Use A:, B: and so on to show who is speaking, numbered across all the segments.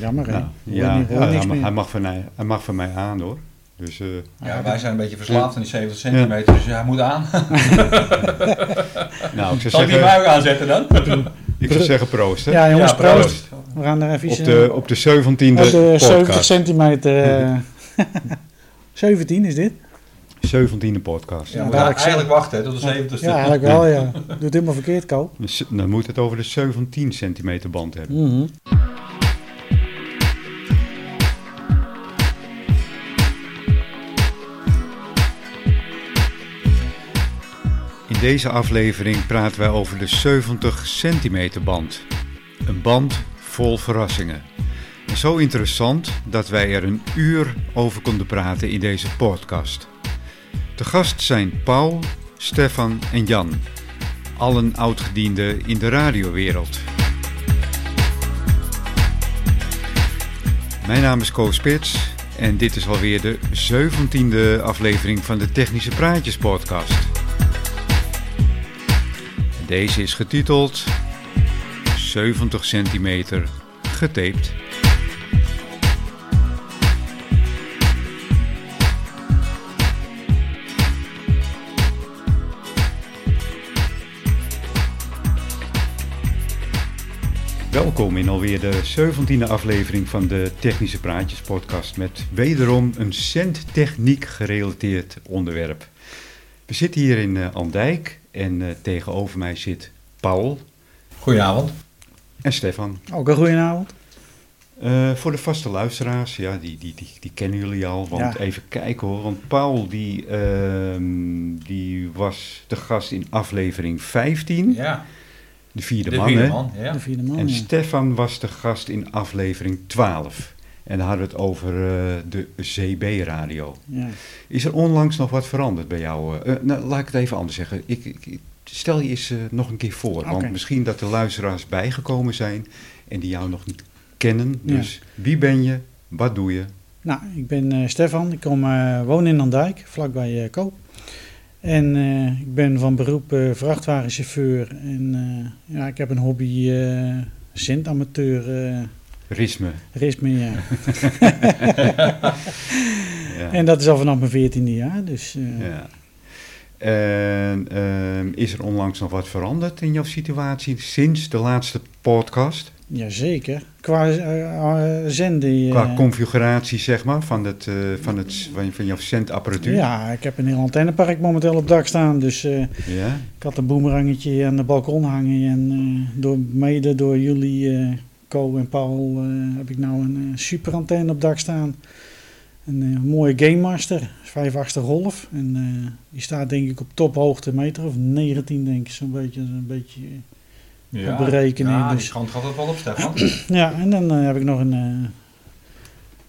A: Jammer, hè?
B: Nou,
A: Hoor
B: ja,
A: je ni- hoor je
B: ja,
A: niks
B: hij,
A: meer.
B: mag- hij mag van mij, hij mag van mij aan hoor. Dus eh,
C: Ja, wij zijn een beetje verslaafd aan die 70 centimeter, dus ja, hij moet aan.
B: nou, ik zou
C: Zal ik die
B: zeggen,
C: buik aanzetten dan?
B: ik zou zeggen proost. Hè?
A: Ja, jongens,
C: Ja,
A: proost.
C: proost.
A: We gaan er even eh,
B: Op de, op de 17e
A: op de 70
B: podcast.
A: centimeter. eh, 17 is dit?
B: 17e podcast.
C: Ja, we
A: waar
C: gaan
A: ik zei-
C: eigenlijk wachten tot de 70
A: Ja, eigenlijk wel, ja. Doet helemaal verkeerd, Ko.
B: Dus Dan moet het over de 17 centimeter band hebben.
A: Mhm.
B: In deze aflevering praten wij over de 70 centimeter band. Een band vol verrassingen. En zo interessant dat wij er een uur over konden praten in deze podcast. Te gast zijn Paul, Stefan en Jan. Allen oudgedienden in de radiowereld. Mijn naam is Koos Spits en dit is alweer de 17e aflevering van de Technische Praatjes podcast. Deze is getiteld 70 centimeter getaped. Welkom in alweer de 17e aflevering van de Technische Praatjes podcast met wederom een centtechniek gerelateerd onderwerp. We zitten hier in eh, Andijk en eh, tegenover mij zit Paul
C: Goedenavond.
B: en Stefan.
A: Ook een goede avond.
B: Eh, voor de vaste luisteraars, ja, die, die, die, die kennen jullie al. Want
A: Ja.
B: even kijken hoor, want Paul die, ehm, die was de gast in aflevering 15,
C: Ja,
B: de vierde
C: de
B: man.
C: vierde
B: hè?
C: man. Ja.
A: De vierde man.
B: En
A: ja.
B: Stefan was de gast in aflevering 12. En daar hadden we het over eh, de CB-radio.
A: Ja.
B: Is er onlangs nog wat veranderd bij jou? eh? Eh, nou, laat ik het even anders zeggen. Ik, ik, ik- stel je eens eh, nog een keer voor.
A: Oké.
B: Want misschien dat er luisteraars bijgekomen zijn en die jou nog niet kennen.
A: Ja.
B: Dus wie ben je? Wat doe je?
A: Nou, ik ben eh, Stefan. Ik kom, eh, woon in Andijk, vlakbij eh Koop. En eh, ik ben van beroep eh, vrachtwagenchauffeur. En eh, ja, ik heb een hobby eh zintamateur eh
B: Risme.
A: ritme. Ja.
B: Ja.
A: En dat is al vanaf mijn veertiende jaar. Dus eh,
B: Ja. En ehm, is er onlangs nog wat veranderd in jouw situatie sinds de laatste podcast?
A: Jazeker. Qua eh, eh, zenden. eh,
B: Qua configuratie, zeg maar, van, het, eh, van, het, van, van jouw centapparatuur?
A: ja, ik heb een heel antennepark momenteel op dak staan. Dus eh,
B: Ja?
A: ik had een boemerangetje aan de balkon hangen. En eh, door, mede door jullie, eh, Co en Paul, eh, heb ik nou een eh, super antenne op dak staan. Een eh, mooie Game Master, 580 Golf. En eh, die staat denk ik op tophoogte meter of 19 denk ik zo'n beetje. Een beetje eh,
C: Ja.
A: Op berekenen,
C: Ja,
A: dus.
C: die kant gaat het wel op, Stefan.
A: Ja, en dan eh, heb ik nog een, eh,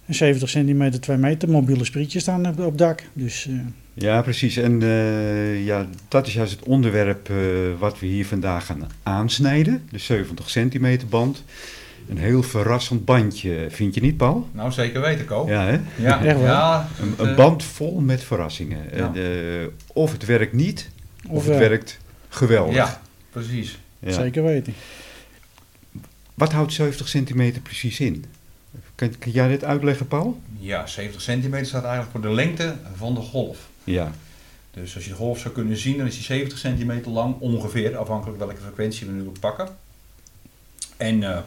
A: een 70 centimeter, 2 meter mobiele sprietje staan op, op dak. Dus eh,
B: Ja, precies. En eh, ja, dat is juist het onderwerp eh, wat we hier vandaag gaan aansnijden. De 70 centimeter band. Een heel verrassend bandje, eh, vind je niet, Paul?
C: Nou, zeker weten, Ko.
B: Ja, hè?
C: Ja,
A: Echt wel.
C: ja,
B: Een,
C: het,
B: een
C: eh,
B: band vol met verrassingen.
C: Ja.
B: En, eh, of het werkt niet, of,
A: of,
B: het
A: eh,
B: werkt geweldig.
C: eh, Ja, precies.
B: Ja.
A: Zeker weten.
B: Wat houdt 70 centimeter precies in? Kan, kan jij dit uitleggen, Paul?
C: Ja, 70 centimeter staat eigenlijk voor de lengte van de golf.
B: Ja.
C: Dus als je de golf zou kunnen zien, dan is die 70 centimeter lang ongeveer, afhankelijk welke frequentie we nu ook pakken. En eh,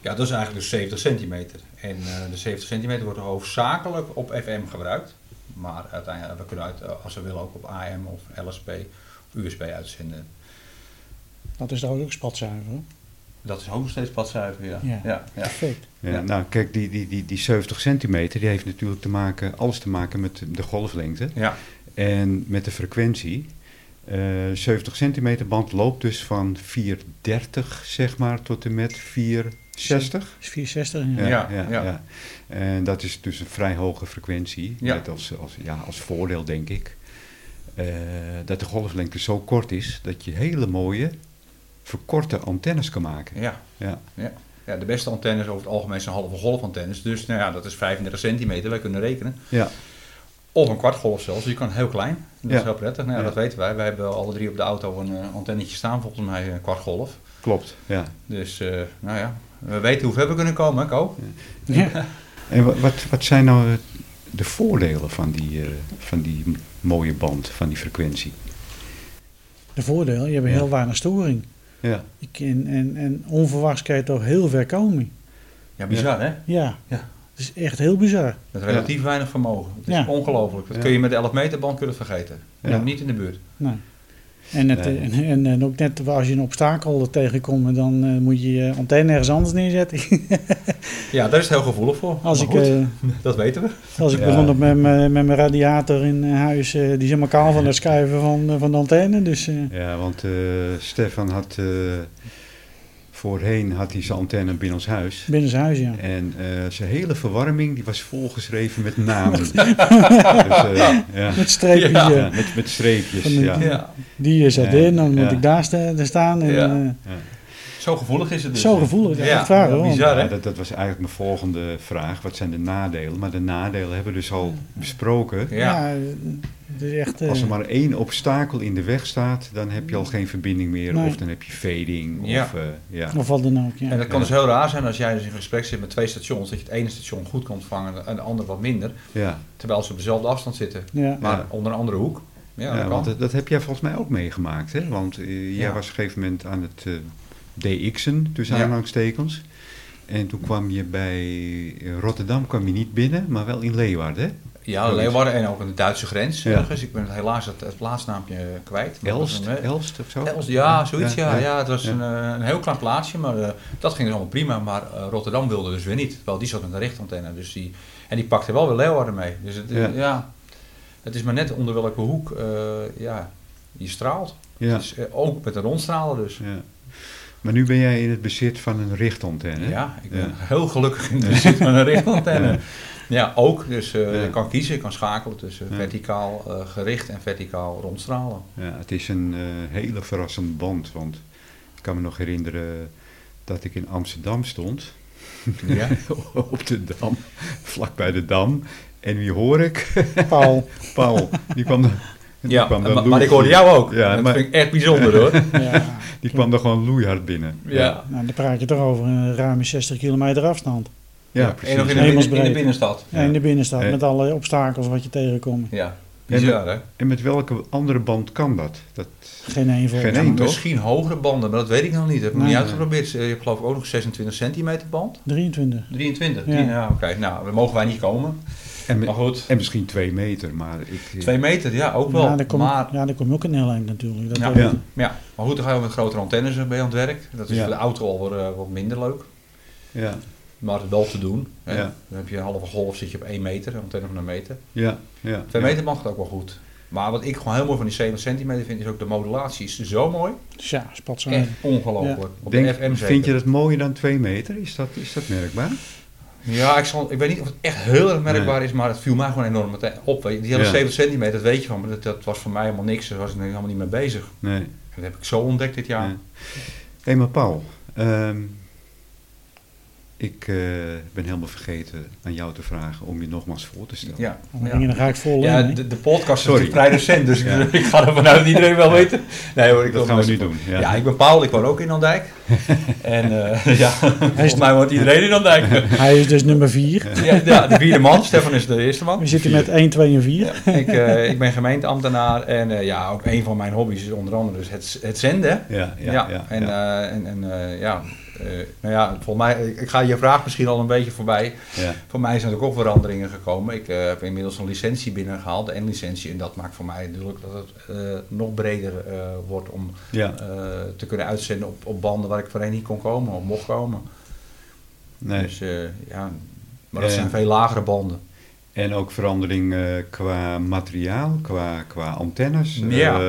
C: ja, dat is eigenlijk dus 70 centimeter. En eh, de 70 centimeter wordt hoofdzakelijk op FM gebruikt. Maar uiteindelijk, we kunnen uit, eh, als we willen ook op AM of LSP of USB uitzenden.
A: Dat is trouwens ook spatzuiver. hoor.
C: Dat is ook nog steeds padcijfer, ja.
A: Ja.
C: ja, ja.
A: Perfect.
B: Ja,
C: Ja.
B: Nou, kijk, die, die, die, die 70 centimeter die heeft natuurlijk te maken, alles te maken met de golflengte.
C: ja.
B: En met de frequentie. eh 70 centimeter band loopt dus van 430 zeg maar tot en met 460.
A: Is 460. Ja.
C: Ja. ja.
B: En dat is dus een vrij hoge frequentie.
C: Ja.
B: Met als, als, ja, als voordeel denk ik. eh, dat de golflengte zo kort is dat je hele mooie verkorte antennes kan maken.
C: Ja.
B: Ja.
C: Ja. ja, de beste antennes over het algemeen zijn halve golfantennes. Dus nou ja, dat is 35 centimeter, wij kunnen rekenen.
B: Ja.
C: Of een kwartgolf zelfs, die kan heel klein. Dat
B: Ja.
C: is heel prettig. Nou ja,
B: Ja.
C: dat weten wij. Wij hebben alle drie op de auto een eh, antennetje staan, volgens mij een kwartgolf.
B: Klopt. Ja.
C: eh, Dus eh, nou ja, We weten hoe ver we kunnen komen, hè, Ko?
A: Ja.
B: En wa- wat, wat zijn nou eh, de voordelen van die, eh, van die m- mooie band, van die frequentie?
A: De voordeel, je hebt
B: Ja.
A: heel weinig storing.
B: Ja.
A: Je kan, en, en onverwachts kan je toch heel ver komen.
C: Ja, bizar, hè?
A: Ja.
C: Ja.
A: Het is echt heel bizar.
C: Met relatief weinig vermogen. Het is
A: Ja.
C: ongelooflijk. Dat
B: Ja.
C: kun je met de 11 meter band kunnen vergeten. Je
B: Ja.
C: moet Niet in de buurt.
A: Nee. Nou. En, het,
B: Nee.
A: en, en, en ook net als je een obstakel er tegenkomt, dan eh, moet je je antenne ergens anders neerzetten.
C: Ja, daar is het heel gevoelig voor.
A: als
C: Maar
A: ik,
C: goed,
A: eh,
C: dat weten we.
A: als ik
B: Ja.
A: begon op met, mijn- met mijn radiator in huis, eh, die is helemaal kaal van het schuiven van, eh, van de antenne. Dus eh,
B: Ja, want eh, Stefan had eh, voorheen had hij zijn antenne binnen ons huis.
A: binnen zijn huis, ja.
B: En eh, zijn hele verwarming die was volgeschreven met namen. dus, eh, ja.
A: Met streepjes.
C: Ja.
A: eh,
B: Ja, met, met streepjes.
A: Van de-
B: Ja.
C: Ja.
A: Die is dat
B: Ja.
A: in, dan moet
B: Ja.
A: ik daar sta- daar staan. En,
C: Ja.
A: eh,
C: Zo gevoelig is het dus.
A: Zo gevoelig, ja, echt waar, hoor.
C: Bizar,
B: Ja,
C: hè?
B: dat, dat was eigenlijk mijn volgende vraag. Wat zijn de nadelen? Maar de nadelen hebben we dus al besproken.
C: Ja.
A: ja, het is echt... eh,
B: Als er maar één obstakel in de weg staat, dan heb je al geen verbinding meer.
A: Nee.
B: Of dan heb je fading. Of,
C: Ja.
B: ja. ja.
A: Of wat dan nou ook, ja.
C: En dat kan
B: Ja.
C: dus heel raar zijn als jij dus in gesprek zit met twee stations, dat je het ene station goed kan ontvangen en de andere wat minder,
B: ja.
C: terwijl ze op dezelfde afstand zitten,
A: ja.
C: maar
B: Ja.
C: onder een andere hoek. Ja,
B: Ja,
C: dat kan.
B: want dat, dat heb jij volgens mij ook meegemaakt. Hè? Want eh, jij
C: Ja.
B: was op een gegeven moment aan het eh, DX'en, tussen
C: Ja.
B: aanhalingstekens. En toen kwam je bij eh, Rotterdam kwam je niet binnen, maar wel in Leeuwarden. hè?
C: ja, Leeuwarden en ook aan de Duitse grens
B: Ja.
C: ergens. Ik ben het helaas het, het plaatsnaampje kwijt. maar dat was
B: Elst,
C: een, eh,
B: Elst of zo?
C: Elst, ja, zoiets, ja. ja, het was
B: ja.
C: Een, eh, een heel klein plaatsje, maar eh, dat ging dus allemaal prima. Maar eh, Rotterdam wilde dus weer niet, terwijl die zat met een richtantenne. Dus die, en die pakte wel weer Leeuwarden mee. Dus het,
B: Ja.
C: ja. het is maar net onder welke hoek eh, ja, je straalt.
B: Ja,
C: Dus, eh, ook met een rondstralen dus.
B: ja. Maar nu ben jij in het bezit van een richtantenne. hè?
C: Ja, ik ben
B: Ja.
C: heel gelukkig in de zit van een richtantenne.
B: Ja.
C: Ja. ook. Dus eh,
B: Ja.
C: je kan kiezen, je kan schakelen tussen
B: Ja.
C: verticaal eh, gericht en verticaal rondstralen.
B: Ja, het is een eh, hele verrassende band, want ik kan me nog herinneren dat ik in Amsterdam stond,
C: Ja.
B: op de Dam, vlak bij de Dam. En wie hoor ik?
A: Paul.
B: Paul. Die kwam, er- die
C: Ja,
B: kwam er
C: maar, maar
B: loeihard
C: ik hoorde
B: binnen.
C: jou ook.
B: Ja,
C: dat
B: maar-
C: vind ik echt bijzonder hoor.
A: ja.
B: Die kwam er gewoon loeihard binnen.
C: Ja.
A: Nou, dan praat je toch over een ruime 60 kilometer afstand.
B: ja
C: en nog
B: precies.
C: in de, binnen- in de
A: Hemelsbreed.
C: binnenstad.
B: Ja.
A: In de binnenstad,
B: Ja.
A: met alle obstakels wat je tegenkomt.
C: Ja, bizar hè.
B: En met welke andere band kan dat? dat
A: Geen één voor.
B: Geen
C: Ja,
B: één, toch?
C: misschien hogere banden, maar dat weet ik nog niet. Dat heb ik nog
A: Nee.
C: niet uitgeprobeerd. Eh, Je hebt geloof ik ook nog 26 centimeter band.
A: 23.
C: 23?
A: Ja.
C: Ja, oké. Nou, daar mogen wij niet komen.
B: en, me-
C: Maar goed,
B: en misschien twee meter, maar ik...
C: Oh. twee meter, ja, ook wel.
A: Ja, daar kom,
C: maar
A: ja, daar kom je ook een heel eind natuurlijk. Dat
C: Ja.
A: weet
B: Ja.
A: je.
C: Ja, maar goed, dan gaan we met grotere antennes eh, bij aan het werk. Dat is
B: Ja.
C: voor de auto al wat, eh, wat minder leuk.
B: Ja,
C: Maar wel te doen. hè.
B: Ja.
C: Dan heb je een halve golf, zit je op 1 meter, een antenne van een meter.
B: ja, ja.
C: Twee
B: ja.
C: meter mag het ook wel goed. Maar wat ik gewoon heel mooi van die 70 centimeter vind, is ook de modulatie is zo mooi.
A: Tja, spat zo.
C: Echt ongelooflijk. Op
B: Denk,
C: de FM zeker.
B: vind je dat mooier dan twee meter? Is dat, is dat merkbaar?
C: Ja, ik, zal, ik weet niet of het echt heel erg merkbaar is, maar het viel mij gewoon enorm meteen op. weet je. Die hele
B: Ja.
C: 70 centimeter, dat weet je van, maar dat, dat was voor mij helemaal niks. Daar was ik helemaal niet mee bezig.
B: Nee.
C: Dat heb ik zo ontdekt dit jaar.
B: Ja. Hé, maar Paul. ehm, ik eh, ben helemaal vergeten aan jou te vragen om je nogmaals voor te stellen.
C: Ja.
A: Dan,
C: Ja.
A: dan ga ik vol
C: Ja,
A: in. hè.
C: de, de podcast
B: Sorry.
C: is natuurlijk vrij recent, dus
B: Ja.
C: ik ga ervan uit dat iedereen wel weten. Nee hoor, ik wil
B: Dat gaan we
C: best-
B: nu doen.
C: Ja.
B: Ja.
C: ik ben Paul, ik woon ook in Andijk. en eh, ja, volgens mij woont iedereen in Andijk.
A: Hij is dus nummer 4.
C: ja, ja, de vierde man, Stefan is de eerste man.
A: We zitten met 1, 2 en 4.
C: Ik, eh, ik ben gemeenteambtenaar en eh, ja, ook een van mijn hobby's is onder andere dus het, het zenden.
B: Ja, ja,
C: Ja,
B: ja.
C: en,
B: ja,
C: eh, en, en eh, ja, eh, nou ja, volgens mij, ik, ik ga je vraag misschien al een beetje voorbij.
B: ja.
C: Voor mij zijn er ook wel veranderingen gekomen. Ik eh, heb inmiddels een licentie binnengehaald, de N-licentie. En dat maakt voor mij natuurlijk dat het eh, nog breder eh, wordt om
B: Ja.
C: eh, te kunnen uitzenden op, op banden waar ik voorheen niet kon komen of mocht komen.
B: Nee.
C: Dus eh, ja, maar dat
B: Eh.
C: zijn veel lagere banden.
B: En ook verandering eh, qua materiaal, qua, qua antennes. eh,
C: Ja.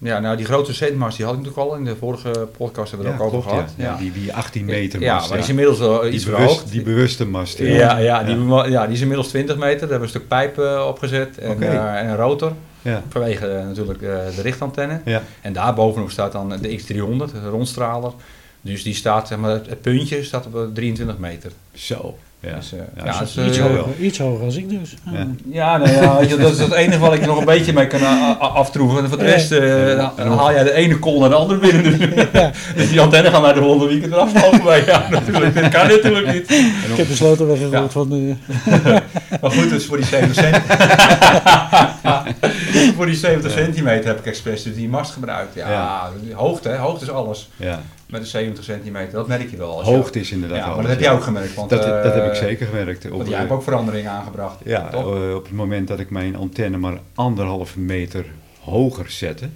C: Ja, nou die grote zendmast die had ik natuurlijk al in de vorige podcast hebben we
B: ja,
C: het ook over
B: klopt,
C: gehad.
B: ja. Ja, die, die 18 meter
C: ja,
B: mast.
C: maar die is
B: ja.
C: inmiddels wel eh,
B: Die
C: iets
B: bewust,
C: verhoogd.
B: die bewuste mast.
C: ja, ja, die, bema- ja, die is inmiddels 20 meter. Daar hebben we een stuk pijp eh, opgezet en,
B: Oké.
C: eh, en een rotor.
B: ja.
C: Vanwege eh, natuurlijk eh, de richtantenne.
B: ja.
C: En daarbovenop staat dan de X300, de rondstraler. Dus die staat, zeg maar, het het puntje staat op eh, 23 meter.
B: Zo. Ja.
C: Dus, eh,
B: Ja,
C: ja,
B: zo-
C: het is,
A: Iets
C: eh,
B: wel.
A: hoger, iets hoger als ik dus. Ah.
B: Ja.
C: Ja, nou ja, weet je, dat is het enige wat ik er nog een beetje mee kan eh, a- a- aftroeven. Want Voor de rest eh,
B: Ja.
C: haal jij de ene kool naar de andere binnen. Dus,
A: Ja.
C: dus die antenne gaan naar de volgende weekend eraf lopen. Maar ja, natuurlijk, dat kan natuurlijk niet.
A: Ik heb
C: dus-
A: besloten weggerold
C: Ja.
A: van de...
C: Maar goed, dus voor die 70 centimeter. voor die 70 centimeter heb ik expres dus die mast gebruikt. Ja,
B: Ja.
C: hoogte, hè, hoogte is alles.
B: ja.
C: Met de 70 centimeter, dat merk je wel. Als je-
B: Hoogte is inderdaad
C: Ja, maar
B: alles,
C: dat heb jij ook gemerkt. Want,
B: Dat, dat heb
C: eh,
B: ik zeker gemerkt. Op,
C: Want jij hebt ook verandering aangebracht.
B: ja,
C: toch?
B: eh, op het moment dat ik mijn antenne maar anderhalve meter hoger zette,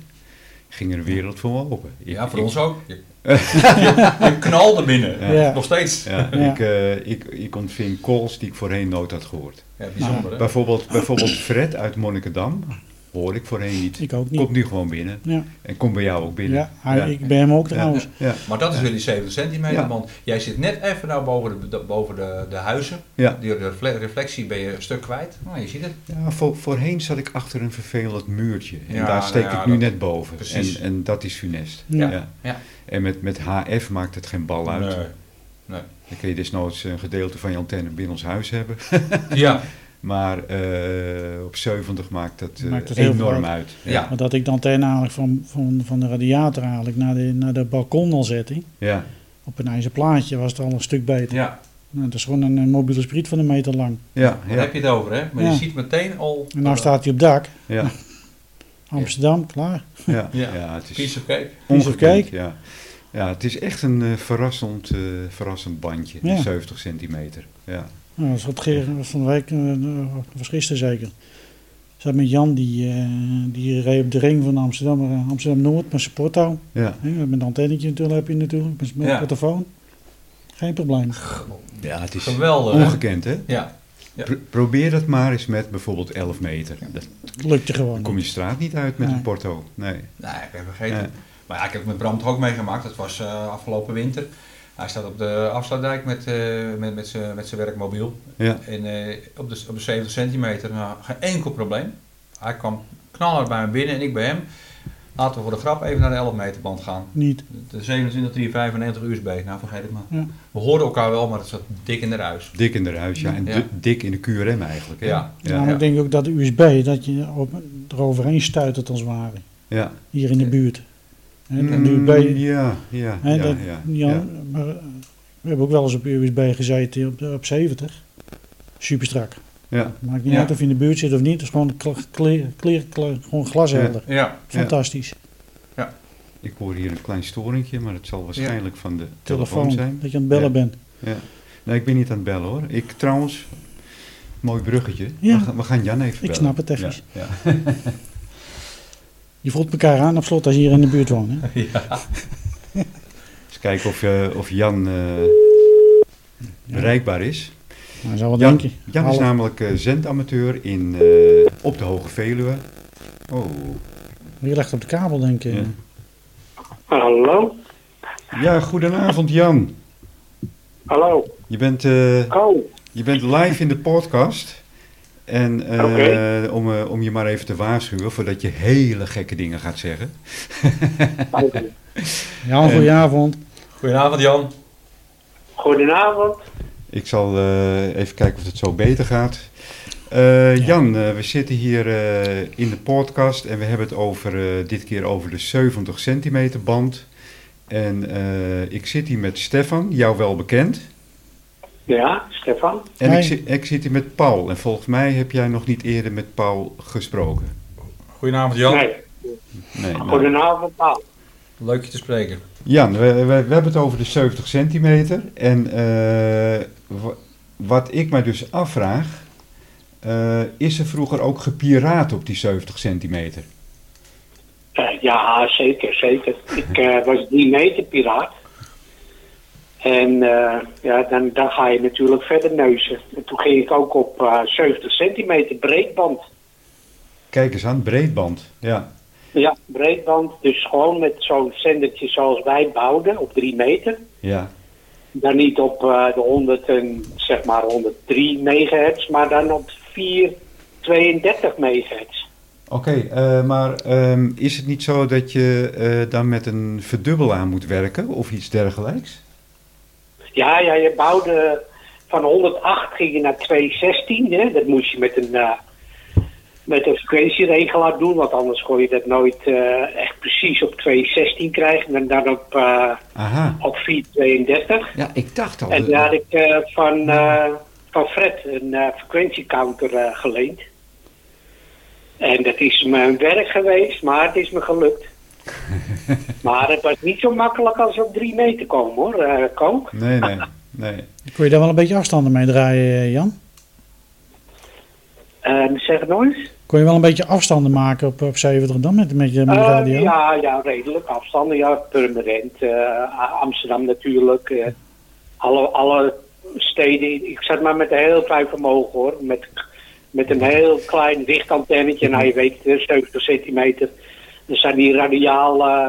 B: ging er een wereld voor me open. Ik-
C: ja, voor
B: ik-
C: ons ook. Je, je, je knalde binnen.
B: Ja.
A: Ja.
C: Nog steeds.
B: Ja,
A: Ja.
B: Ik, eh, ik, ik ontving calls die ik voorheen nooit had gehoord.
C: Ja, bijzonder. hè?
B: Bijvoorbeeld, bijvoorbeeld Fred uit Monnikendam hoor ik voorheen niet.
A: Ik ook
B: Komt
A: niet.
B: nu gewoon binnen
A: Ja,
B: en komt bij jou ook binnen.
A: ja, hij- ik ben hem ook trouwens.
B: Ja,
C: Maar dat is weer die 70 centimeter,
B: Ja.
C: want jij zit net even nou boven de, de- boven de, de huizen.
B: ja.
C: Die refle- reflectie ben je een stuk kwijt. Nou, je ziet het.
B: Ja, voor, voorheen zat ik achter een vervelend muurtje. En
C: Ja,
B: daar steek
C: nou ja,
B: ik nu
C: dat-
B: net boven.
C: precies.
B: En, en dat is funest.
A: Ja.
C: Ja.
B: En met, met HF maakt het geen bal uit.
C: Nee.
B: Dan kun je desnoods een gedeelte van je antenne binnen ons huis hebben.
C: Ja.
B: Maar eh, op 70 maakt dat eh,
A: Maakt het heel veel
B: enorm
A: uit.
B: uit.
C: Ja.
A: Maar dat ik dan ten eigenlijk van, van, van de radiator eigenlijk naar de, naar de balkon al zette,
B: Ja.
A: op een ijzer plaatje was het al een stuk beter.
C: ja.
A: Nou, dat is gewoon een, een mobiele spriet van een meter lang.
B: Ja,
C: Daar
B: ja,
C: heb je het over, hè? Maar
A: Ja.
C: je ziet meteen al...
A: En nou staat hij op dak,
B: ja,
A: Amsterdam, klaar.
B: ja,
C: Ja.
B: ja, het is
C: Piece of cake.
A: Piece of cake.
B: ongekend, Ja. ja, het is echt een eh, verrassend, eh, verrassend bandje, die
A: Ja.
B: 70 centimeter. Ja,
A: Nou, dat zat Ger- van de week, eh, of was gisteren zeker. Ik zat met Jan, die, eh, die reed op de ring van Amsterdam, eh, Amsterdam-Noord met zijn porto.
B: ja.
A: Hè, Met een antennetje natuurlijk heb je natuurlijk, met met
C: Ja.
A: een telefoon. Geen probleem.
B: ja het is
C: Geweldig. hè?
B: ongekend, hè?
C: Ja. Ja.
B: Pro- probeer dat maar eens met bijvoorbeeld 11 meter. Dat-
A: Lukt je
B: Dan
A: gewoon.
B: kom je straat niet uit met
A: Nee.
B: een porto. Nee.
C: Nee, ik heb vergeten.
B: Ja.
C: Maar ja, ik heb het met Bram toch ook meegemaakt. Dat was eh, afgelopen winter. Hij staat op de afsluitdijk met, eh, met, met zijn met zijn werkmobiel.
B: Ja.
C: En eh, op, de, op de 70 centimeter, nou, geen enkel probleem. Hij kwam knaller bij me binnen en ik bij hem. Laten we voor de grap even naar de 11 meter band gaan.
A: Niet.
C: De 27, 395 USB, nou vergeet het maar.
A: Ja.
C: We hoorden elkaar wel, maar het zat dik in de ruis.
B: Dik in de ruis, ja. En
C: Ja.
B: di- dik in de QRM eigenlijk. Hè?
C: Ja.
A: Ja, maar
B: ja.
A: Nou, ik denk ook dat de USB, dat je op, eroverheen stuitert als het ware.
B: ja.
A: Hier in de buurt. Hè, dat de
B: Mm,
A: USB,
B: ja, ja,
A: hè,
B: ja,
A: dat,
B: ja,
A: Jan,
B: ja.
A: Maar, eh, we hebben ook wel eens op USB gezeten op, op 70. Super strak.
B: Ja,
A: Maakt niet
C: Ja.
A: uit of je in de buurt zit of niet. Het is gewoon kla- clear, clear, clear- gewoon glashelder.
C: Ja,
A: Fantastisch.
B: Ik hoor hier een klein storingje, maar het zal waarschijnlijk van de telefoon,
A: Telefoon.
B: zijn.
A: Dat je aan het bellen
B: Ja.
A: bent.
B: Ja. Nee, ik ben niet aan het bellen hoor. Ik trouwens, mooi bruggetje.
A: Ja.
B: We, gaan, we gaan Jan even bellen.
A: Ik snap het even.
B: Ja,
A: Je voelt elkaar aan op slot als je hier in de buurt woont. Hè? Nou,
B: Eens kijken of, eh, of Jan eh, bereikbaar is.
A: Nou, zou wel
B: Jan,
A: denken.
B: Jan is
A: Half-
B: namelijk eh, zendamateur in, eh, op de Hoge Veluwe. Oh,
A: Je legt op de kabel, denk ik.
B: Ja.
D: Hallo?
B: ja, goedenavond Jan.
D: Hallo?
B: Je bent, eh,
D: Oh,
B: je bent live in de podcast. En eh,
D: Oké.
B: om, eh, om je maar even te waarschuwen voordat je hele gekke dingen gaat zeggen.
A: Jan, goedenavond.
C: goedenavond Jan.
D: goedenavond.
B: Ik zal eh, even kijken of het zo beter gaat. Eh, Jan, eh, we zitten hier eh, in de podcast en we hebben het over, eh, dit keer over de 70 centimeter band. En eh, ik zit hier met Stefan, jou wel bekend.
D: Ja, Stefan?
B: En
A: Hi.
B: ik, zi- ik zit hier met Paul. En volgens mij heb jij nog niet eerder met Paul gesproken.
C: Goedenavond Jan.
D: Nee,
B: Nee.
D: Oh,
B: nou.
D: goedenavond Paul.
C: Leuk je te spreken.
B: Jan, we, we, we hebben het over de 70 centimeter. En eh, wa- wat ik mij dus afvraag, eh, is er vroeger ook gepiraat op die 70 centimeter?
D: Eh, ja, zeker, zeker. Ik eh, was 3 meter piraat. En eh, ja, dan, dan ga je natuurlijk verder neuzen. En toen ging ik ook op eh, 70 centimeter breedband.
B: Kijk eens aan, breedband. Ja,
D: Ja, breedband. Dus gewoon met zo'n zendertje zoals wij bouwden, op 3 meter.
B: ja,
D: Dan niet op eh, de 100 en, zeg maar 103 megahertz, maar dan op 432 megahertz.
B: eh, maar ehm, is het niet zo dat je eh, dan met een verdubbelaar moet werken of iets dergelijks?
D: Ja, ja, je bouwde van 108 ging je naar 216. Hè? Dat moest je met een, eh, met een frequentieregelaar doen, want anders kon je dat nooit eh, echt precies op 216 krijgen. En dan op, eh,
B: Aha.
D: op 432.
B: Oh, Ja, ik dacht al.
D: En daar had ik eh, van, eh, van Fred een eh frequentiecounter eh, geleend. En dat is mijn werk geweest, maar het is me gelukt. maar het was niet zo makkelijk als op drie meter komen hoor, eh Kook.
B: Nee, nee, nee.
A: Kun je daar wel een beetje afstanden mee draaien, eh, Jan?
D: Eh, zeg het nog eens.
A: Kon je wel een beetje afstanden maken op, op 70 dan met, met, je- met de
D: Eh,
A: radio?
D: ja, ja, redelijk afstanden. Ja, permanent. eh, A- Amsterdam natuurlijk. eh, alle, alle steden. Ik zat maar met een heel klein vermogen hoor. Met, met een heel klein lichtantennetje. Nou, je weet, eh, 70 centimeter. Dan zijn die radiaal eh,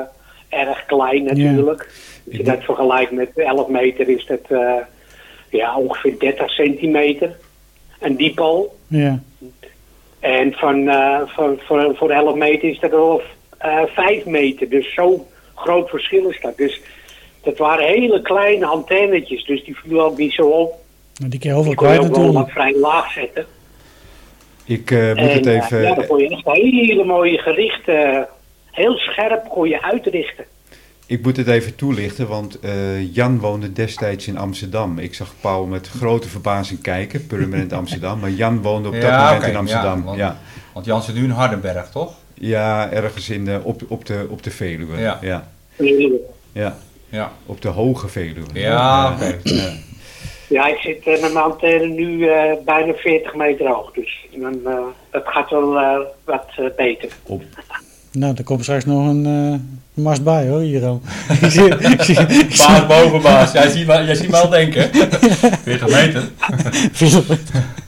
D: erg klein natuurlijk. Als je
B: Ik denk-
D: dat vergelijkt met 11 meter is dat eh, ja, ongeveer 30 centimeter. Een diepal.
A: Ja.
D: En van, eh, van, voor, voor 11 meter is dat wel eh 5 meter. Dus zo'n groot verschil is dat. Dus dat waren hele kleine antennetjes. Dus die viel ook niet zo op.
A: Nou, die kun je heel veel
D: Die kon je
A: kwijt
D: ook wel
A: natuurlijk.
D: wat vrij laag zetten.
B: Ik eh, moet het
D: en eh,
B: even.
D: ja, dan kon je echt hele mooie gerichten. eh, Heel scherp kon je uitrichten.
B: Ik moet het even toelichten, want eh, Jan woonde destijds in Amsterdam. Ik zag Paul met grote verbazing kijken, permanent Amsterdam. Maar Jan woonde op dat
C: Ja,
B: moment
C: oké,
B: in Amsterdam.
C: ja,
B: Ja,
C: want-
B: ja.
C: Want Jan zit nu in Hardenberg, toch?
B: ergens in de, op, op, de, op de Veluwe.
C: Ja.
B: Ja. Ja,
C: Ja,
B: op de Hoge Veluwe.
C: ja
B: Eh,
C: oké.
B: eh,
D: Ja, ik zit eh, met mijn antenne nu eh, bijna 40 meter hoog. Dus dan, eh, dat gaat wel eh, wat eh, beter.
A: Nou, er komt straks nog een eh, mast bij hoor, hier al. Ik zie- ik zie- ik zie-
C: Baas boven baas. Jij ziet me, jij ziet me al denken. 40 meter.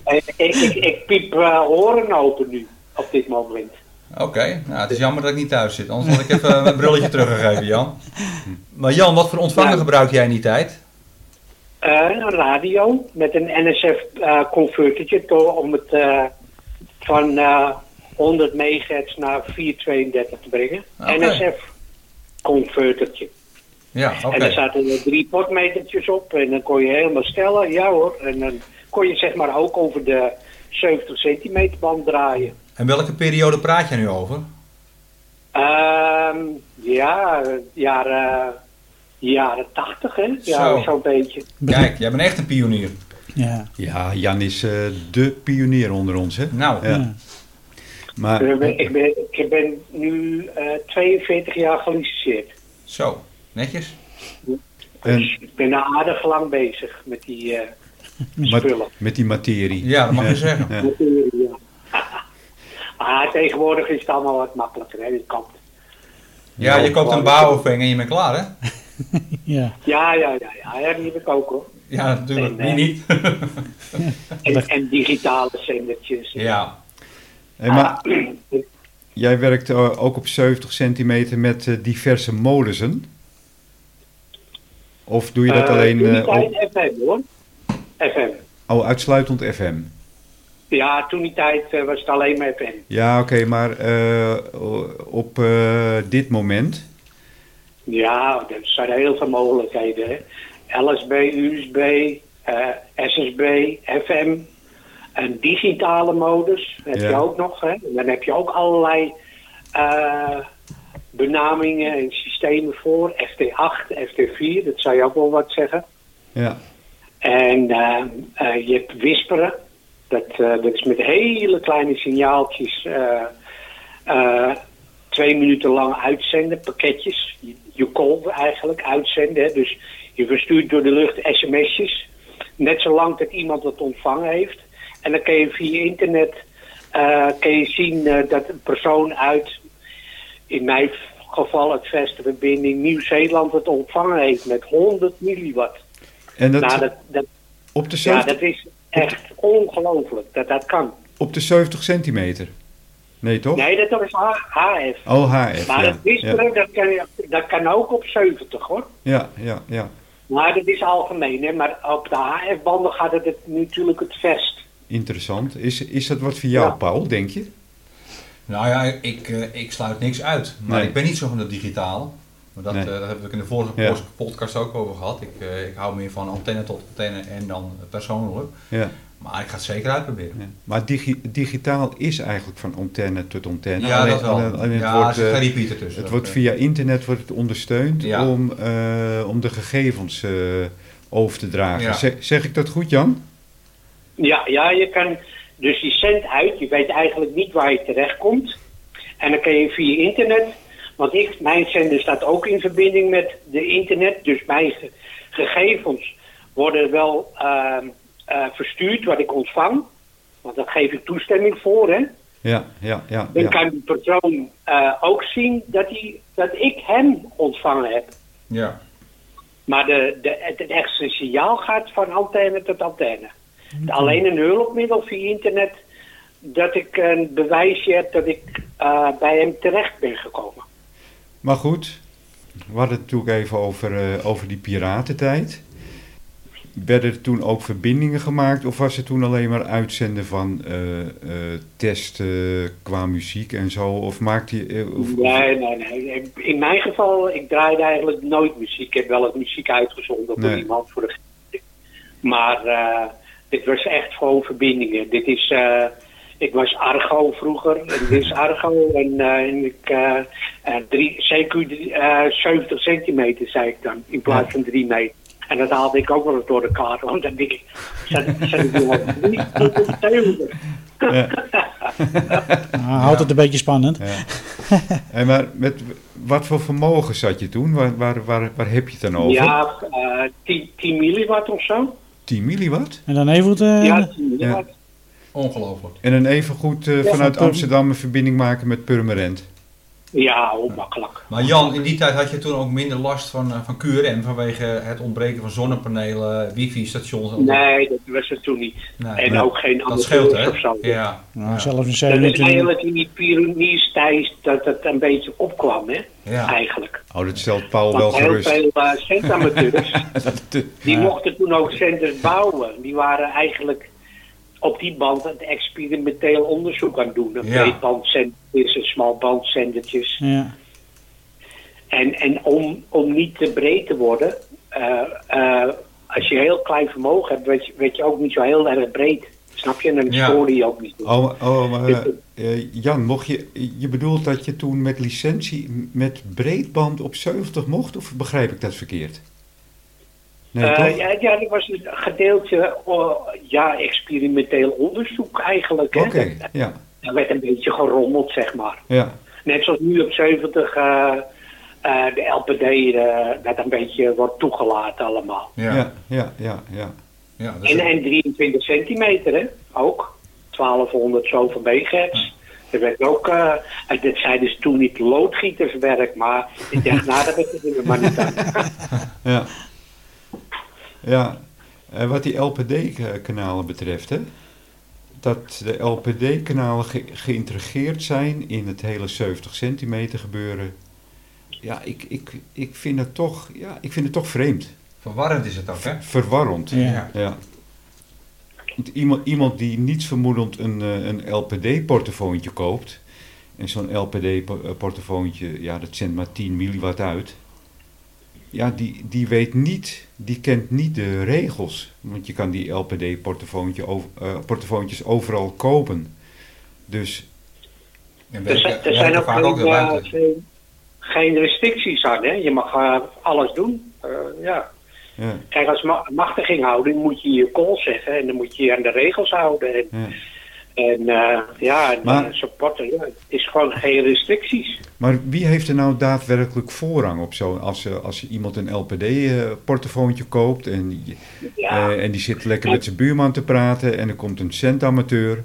D: Eh, ik, ik, ik piep eh, horen open nu, op dit moment.
C: Oké, nou het is jammer dat ik niet thuis zit. Anders had ik even eh, mijn brilletje teruggegeven, Jan. Maar Jan, wat voor ontvanger
D: Ja.
C: gebruik jij in die tijd?
D: Eh, een radio met een NSF-convertertje eh, om het eh, van eh, 100 megahertz naar 432 te brengen.
C: Ah, Oké.
D: NSF-convertertje.
C: Ja, oké.
D: En er zaten er drie potmetertjes op en dan kon je helemaal stellen, ja hoor. En dan kon je zeg maar ook over de 70 centimeter band draaien.
C: En welke periode praat jij nu over?
D: Ehm, ja, jaren, jaren 80 hè? Ja,
C: Zo.
D: zo'n beetje.
C: Kijk, jij bent echt een pionier.
A: Ja.
B: ja, Jan is eh, de pionier onder ons. Hè?
C: Nou,
B: Ja.
A: Ja.
B: Maar
D: Ik ben, ik ben, ik ben nu eh, 42 jaar gelicenseerd.
C: zo. Netjes.
B: En-
D: Dus ik ben aardig lang bezig met die eh,
B: maar-
D: spullen.
B: met die materie.
C: Ja, dat mag je zeggen.
B: Ja.
D: Natuurlijk, ja. Maar tegenwoordig is het allemaal wat makkelijker. Hè? Je kan-
C: Ja, je koopt een bouwofving en je bent klaar, hè?
A: ja.
D: Ja, ja, ja, ja, ja, die heb ik ook hoor.
C: Ja, natuurlijk.
D: Nee,
C: Wie
D: nee.
C: niet?
D: En, en digitale zendertjes.
C: Ja.
B: Hey, maar
D: Ah.
B: jij werkt eh, ook op 70 centimeter met eh, diverse molensen. Of doe je dat
D: Eh,
B: alleen
D: in die
B: eh, op-
D: tijd FM hoor. FM.
B: Oh, uitsluitend FM.
D: Ja, toen die tijd eh, was het alleen maar FM.
B: Ja, oké, maar eh, o- op eh, dit moment.
D: Ja, er zijn heel veel mogelijkheden. hè. LSB, USB, eh, SSB, FM. Een digitale modus heb
B: Ja.
D: je ook nog. Hè? En dan heb je ook allerlei eh, benamingen en systemen voor. FT8, FT4, dat zou je ook wel wat zeggen.
B: Ja,
D: En eh, eh, je hebt wisperen. Dat, eh, dat is met hele kleine signaaltjes. eh, eh, twee minuten lang uitzenden, pakketjes. Je- Je call eigenlijk, uitzenden. Hè. Dus je verstuurt door de lucht sms'jes. Net zolang dat iemand dat ontvangen heeft. En dan kan je via internet eh, kan je zien eh, dat een persoon uit, in mijn geval het Vestenverbinding, Nieuw-Zeeland het ontvangen heeft met 100 milliwatt.
B: en dat,
D: nou, dat, dat
B: op, de
D: ja,
B: 70,
D: dat is echt ongelooflijk dat dat kan.
B: op de 70 centimeter. Nee, toch?
D: Nee, dat is H- HF.
B: Oh, HF.
D: Maar
B: ja.
D: het
B: Ja,
D: wisperen, dat, kan, je- dat kan ook op 70 hoor.
B: ja, ja, ja.
D: Maar dat is algemeen, hè. Maar op de HF-banden gaat het, het natuurlijk het vest.
B: Interessant. Is, is dat wat voor jou,
D: Ja.
B: Paul, denk je?
C: Nou ja, ik, eh, ik sluit niks uit. Maar
B: Nee.
C: ik ben niet zo van het digitale. Maar dat,
B: Nee.
C: eh, daar hebben we in de vorige
B: Ja.
C: podcast ook over gehad. Ik, eh, ik hou meer van antenne tot antenne en dan persoonlijk.
B: Ja.
C: Maar ik ga het zeker uitproberen.
B: Ja. Maar digi- digitaal is eigenlijk van antenne tot antenne.
C: Ja,
B: Alleen-
C: dat wel.
B: alleen- alleen het
C: ja, er
B: wordt,
C: zit
B: eh,
C: geen repeater tussen.
B: het
C: Dat,
B: wordt
C: eh,
B: via internet wordt het ondersteund
C: Ja.
B: om, eh, om de gegevens eh, over te dragen.
C: Ja.
B: Zeg, zeg ik dat goed, Jan?
D: Ja, ja, je kan dus je zendt uit, je weet eigenlijk niet waar je terechtkomt. En dan kan je via internet, want ik, mijn zender staat ook in verbinding met de internet, dus mijn ge- gegevens worden wel ehm, eh, verstuurd wat ik ontvang. Want daar geef ik toestemming voor, hè.
B: Ja, ja, ja.
D: Dan
B: ja.
D: kan die persoon eh, ook zien dat, hij, dat ik hem ontvangen heb.
C: Ja.
D: Maar de, de, het, het echte signaal gaat van antenne tot antenne. Alleen een hulpmiddel via internet dat ik een bewijsje heb dat ik eh, bij hem terecht ben gekomen.
B: Maar goed, we hadden het natuurlijk even over, eh, over die piratentijd. Werden er toen ook verbindingen gemaakt of was het toen alleen maar uitzenden van eh, eh, testen qua muziek en zo? Of maakte je... eh, of- of-
D: Nee, nee, nee. In mijn geval, ik draaide eigenlijk nooit muziek. Ik heb wel het muziek uitgezonden voor
B: Nee.
D: iemand voor de gek. Maar eh, dit was echt gewoon verbindingen. Dit is, eh, ik was Argo vroeger. En dit is Argo. En, eh, en ik, eh, eh, drie, CQ drie- eh, 70 centimeter, zei ik dan, in plaats
B: Ja.
D: van 3 meter. En dat haalde ik ook wel eens door de kaart, want dan denk ik, zat zat ik hier op 3 tot 70.
A: Nou, houdt het een beetje spannend.
B: Ja. en maar met wat voor vermogen zat je toen? Waar, waar, waar, waar heb je het dan over?
D: Ja, eh 10, 10 milliwatt of zo.
B: 10 milliwatt?
A: En dan eh, even
D: ja, 10 milliwatt.
C: Ongelooflijk.
B: En dan even goed eh,
D: Ja,
B: vanuit
A: van-
B: Amsterdam een verbinding maken met Purmerend.
D: Ja, onmakkelijk.
C: Maar Jan, in die tijd had je toen ook minder last van, eh, van QRM vanwege het ontbreken van zonnepanelen, wifi-stations. en-
D: Nee, dat was het toen niet.
C: Nee,
D: en
C: dat-
D: ook geen
C: dat
D: amateurs
C: scheelt hè?
D: of zo.
C: Ja.
A: nou, zelfs een
D: Dat is
A: zeven.
D: eigenlijk in die pionierstijd dat het een beetje opkwam, hè?
C: ja.
D: Eigenlijk.
B: Oh, dat stelt Paul wel
D: Want heel
B: gerust. eh,
D: veel eh, centamateurs, die
A: Ja.
D: mochten toen ook centers bouwen. Die waren eigenlijk op die band het experimenteel onderzoek aan het doen. Een
C: Ja.
D: breedbandzendertjes, een smalbandzendertjes.
A: Ja.
D: En, en om, om niet te breed te worden, eh, eh, als je heel klein vermogen hebt, werd je, werd je ook niet zo heel erg breed. Snap je? En dan
C: Ja.
D: scoorde je ook niet.
B: Oh, oh eh, eh, Jan, mocht je, je bedoelt dat je toen met licentie met breedband op 70 mocht, of begrijp ik dat verkeerd? Nee,
D: Eh,
B: toch?
D: ja, ja, dat was een gedeelte, oh, ja, experimenteel onderzoek eigenlijk. Hè?
B: Oké, ja,
D: Er werd een beetje gerommeld, zeg maar.
B: ja,
D: Net zoals nu op 70 eh, eh, de LPD eh, dat een beetje wordt toegelaten allemaal.
C: Ja.
B: ja,
C: Ja.
B: ja, ja, ja.
C: dus-
D: En, en 23 centimeter, hè? Ook. 1200 zoveel megahertz. Dat werd ook, eh, en dat zei dus toen niet loodgieterswerk, maar ik dacht, nou, dat is het maar niet aan.
B: ja. Ja, eh, wat die LPD-kanalen betreft, hè? dat de LPD-kanalen ge- geïntegreerd zijn in het hele 70 centimeter gebeuren. Ja, ik, ik, ik, vind het toch, ja, ik vind het toch vreemd.
C: Verwarrend is het ook, hè?
B: Verwarrend.
A: Ja.
B: Ja. Want iemand, iemand die nietsvermoedend een, eh, een LPD-portefoontje koopt. En zo'n LPD-portefoontje, ja, dat zendt maar 10 milliwatt uit. Ja, die, die weet niet, die kent niet de regels. Want je kan die LPD-portefoontjes eh, overal kopen. Dus
C: En
D: Er
C: werken,
D: zijn, er
C: werken
D: zijn ook
C: vaak ook de
D: geen, eh,
C: ruimte.
D: geen, geen restricties aan, hè? Je mag eh, alles doen. Eh, ja.
B: ja,
D: Kijk, als ma- machtiginghouding moet je je call zeggen en dan moet je je aan de regels houden. En,
B: ja.
D: en eh, ja, en,
B: Maar-
D: eh, supporten. Ja. Het is gewoon geen restricties.
B: Maar wie heeft er nou daadwerkelijk voorrang op zo? Als, eh, als iemand een LPD-portefoontje eh, koopt en je-
D: Ja.
B: Eh, en die zit lekker met zijn buurman te praten en er komt een centamateur.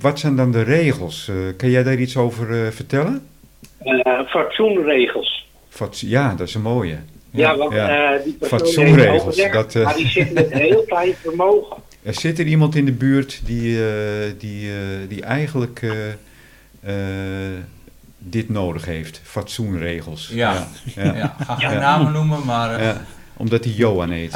B: Wat zijn dan de regels? Eh, kan jij daar iets over eh, vertellen?
D: eh, fatsoenregels.
B: Wat, ja, dat is een mooie.
D: Ja, want
B: ja.
D: eh, die persoon
B: Fatsoenregels,
D: heeft overleg,
B: dat, eh.
D: maar die zit met een heel klein vermogen.
B: Er zit er iemand in de buurt die, eh, die, eh, die eigenlijk eh, eh, dit nodig heeft. Fatsoenregels.
C: Ja.
B: Ja.
C: Ja. Ga geen
B: Ja.
C: namen noemen, maar... eh,
B: Ja. Omdat hij Johan heet.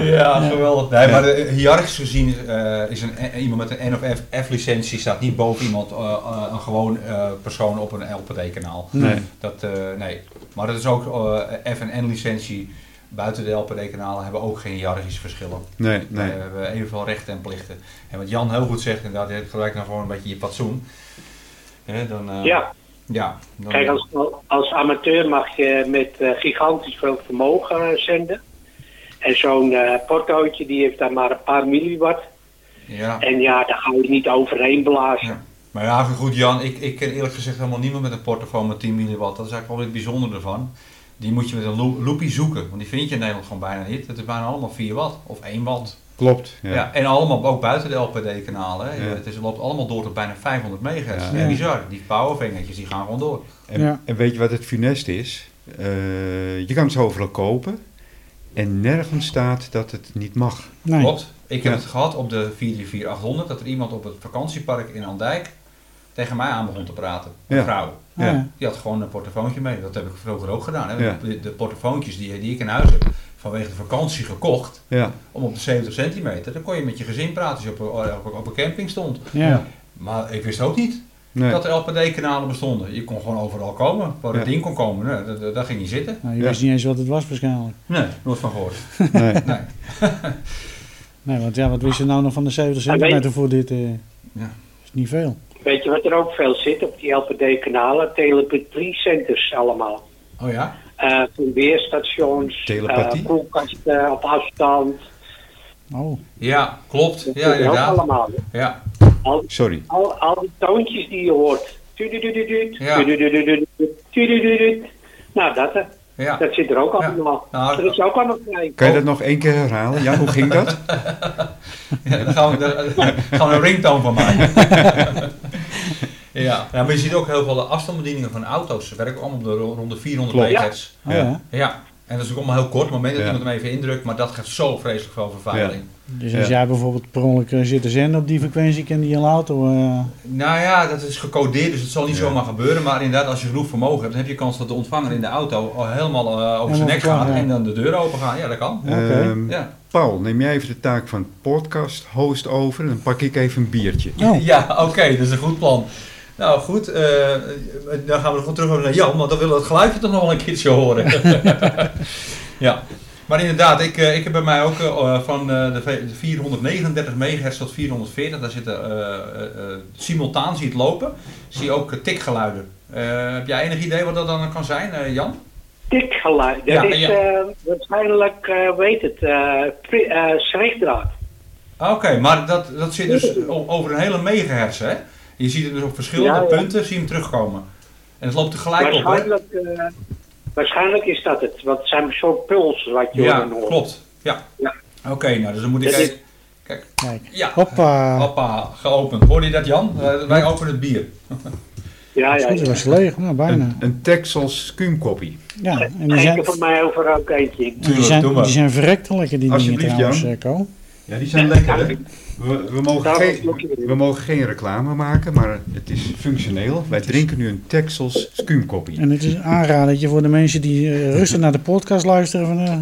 C: Ja, geweldig. Nee, maar eh, hiërarchisch gezien eh, is een, eh, iemand met een N of F, F-licentie staat niet boven iemand, eh, eh, een gewoon eh, persoon op een LPD-kanaal.
B: Nee.
C: Dat, eh, nee. Maar dat is ook eh, F- en N-licentie. Buiten de LPD-kanalen hebben ook geen hiërarchische verschillen. Eh,
B: Nee, nee.
C: We hebben evenveel rechten en plichten. En wat Jan heel goed zegt, inderdaad, je hebt gelijk nou gewoon een beetje je fatsoen. Hè, dan, eh,
D: Ja,
C: ja dan-
D: kijk, als, als amateur mag je met eh, gigantisch veel vermogen eh, zenden. En zo'n eh portootje die heeft daar maar een paar milliwatt.
C: ja.
D: En ja, daar ga je niet overheen blazen.
C: Ja. Maar ja, goed Jan, ik, ik ken eerlijk gezegd helemaal niemand met een portofoon met 10 milliwatt. Dat is eigenlijk wel weer het bijzondere ervan. Die moet je met een loe- loepie zoeken, want die vind je in Nederland gewoon bijna niet. Het is bijna allemaal 4 watt of 1 watt.
B: Klopt. Ja.
C: Ja. en allemaal ook buiten de LPD-kanalen.
B: Ja.
C: Het is, loopt allemaal door tot bijna 500 megahertz.
B: Ja.
C: Ja.
A: Ja.
C: Bizar, die powervingertjes die gaan gewoon door.
B: En,
A: Ja.
B: en weet je wat het funest is? Eh, je kan ze overal kopen en nergens staat dat het niet mag.
A: Nee.
C: Klopt. Ik heb
B: Ja.
C: het gehad op de 44800 dat er iemand op het vakantiepark in Andijk tegen mij aan begon te praten. Een
B: Ja.
C: vrouw.
A: Ah, ja.
C: Die had gewoon een portofoontje mee. Dat heb ik vroeger ook gedaan. Hè?
B: Ja.
C: De, de portofoontjes die, die ik in huis heb vanwege de vakantie gekocht.
B: Ja,
C: Om op de 70 centimeter. Dan kon je met je gezin praten als je op een, op een, op een camping stond.
A: Ja.
C: Maar ik wist ook niet
B: nee.
C: dat er LPD-kanalen bestonden. Je kon gewoon overal komen. Waar het
B: Ja.
C: in kon komen. Nee, daar- daar, daar ging je zitten.
A: Nou, je
B: Ja.
A: wist niet eens wat het was waarschijnlijk.
C: Nee, nooit van gehoord.
B: nee.
C: Nee.
A: Nee, want ja, wat wist je nou nog van de 70
D: Ah, nee.
A: centimeter voor dit? eh
C: Ja.
A: is niet veel.
D: Weet je wat er ook veel zit op die LPD-kanalen? Telepathie-centers allemaal.
C: Oh ja?
D: Eh, van weerstations,
B: Telepathie?
D: eh, koelkasten op afstand.
A: Oh,
C: Ja, klopt.
D: Dat
C: Ja,
D: zit er ook
C: inderdaad.
D: allemaal.
C: Ja,
D: Al,
B: Sorry.
D: al, al die toontjes die je hoort. Tududududut,
C: Ja.
D: tududududut, tududududut. Nou, dat, eh,
C: ja.
D: dat zit er ook allemaal.
C: Nou,
D: dat is ook allemaal vrij.
B: Kan je dat nog één keer herhalen? Ja, hoe ging dat?
C: Ja, daar gaan we, daar- daar gaan we een ringtone van maken. ja. ja, maar je ziet ook heel veel de afstandsbedieningen van auto's. Ze werken allemaal op de, ro- rond de 400
B: Klopt.
C: megahertz.
A: oh
B: Ja.
A: ja.
C: Ja. En dat is ook allemaal heel kort, op het moment dat
B: Ja.
C: iemand hem even indrukt, maar dat geeft zo vreselijk veel vervuiling.
A: Dus als
B: Ja.
A: jij bijvoorbeeld per ongeluk eh, zit te zenden op die frequentie, kan die hele auto... eh,
C: Nou ja, dat is gecodeerd, dus het zal niet
B: Ja.
C: zomaar gebeuren. Maar inderdaad, als je genoeg vermogen hebt, dan heb je kans dat de ontvanger in de auto al helemaal eh, over zijn
A: Helemaal
C: nek gaat
A: klaar, ja.
C: en dan de deur open gaat. Ja, dat kan.
A: Oké.
B: Ehm,
C: Ja,
B: Paul, neem jij even de taak van podcast host over en dan pak ik even een biertje.
A: Oh.
C: ja oké, dat is een goed plan. Nou goed, eh, dan gaan we gewoon terug over naar Jan, want dan willen we het geluidje toch nog wel een keertje horen. ja, maar inderdaad, ik, eh, ik heb bij mij ook eh, van eh, de ve- de 439 megahertz tot 440, daar zitten eh, eh, eh, simultaan zie je het lopen, zie je ook eh, tikgeluiden. Eh, heb jij enig idee wat dat dan kan zijn, eh, Jan?
D: Tikgeluid. Oh, Dat
C: Ja,
D: is
C: ja.
D: eh, waarschijnlijk, eh weet het, eh pri- eh, schrikdraad.
C: Ah, Oké, maar dat, dat zit dus o- over een hele megahertz, hè? Je ziet het dus op verschillende
D: Ja, ja.
C: punten, zie je hem terugkomen. En het loopt tegelijk op, hè?
D: Waarschijnlijk, eh, waarschijnlijk is dat het. Want het zijn een soort pulsen wat je
C: Ja,
D: horen hoort.
C: klopt. Ja.
D: Ja.
C: Oké, nou, dus dan moet ik
D: Dat is-
C: even...
A: Kijk.
C: Ja,
A: Hoppa.
C: hoppa, geopend. Hoorde je dat, Jan? Eh, wij openen het bier.
D: Ja,
A: Dat
D: ja.
A: is goed,
D: ja.
A: dat was leeg. Nou, bijna.
B: Een, een Texels kumkoppie.
A: Ja, en die
D: Geef
A: zijn,
D: er voor mij over ook eentje in.
A: die
C: Tuurlijk,
A: zijn,
C: doe maar.
A: die zijn verrekte lekker, die dingen
B: Alsjeblieft,
A: trouwens,
B: Jan.
A: eh, Ko.
B: Ja, die zijn lekker, hè? We, we, mogen
D: Daarom
B: geen,
D: vloek je erin.
B: we mogen geen reclame maken, maar het is functioneel. Wij drinken nu een Texels skumkoppie.
A: En het is aanradertje voor de mensen die eh, rustig naar de podcast luisteren. Van, eh,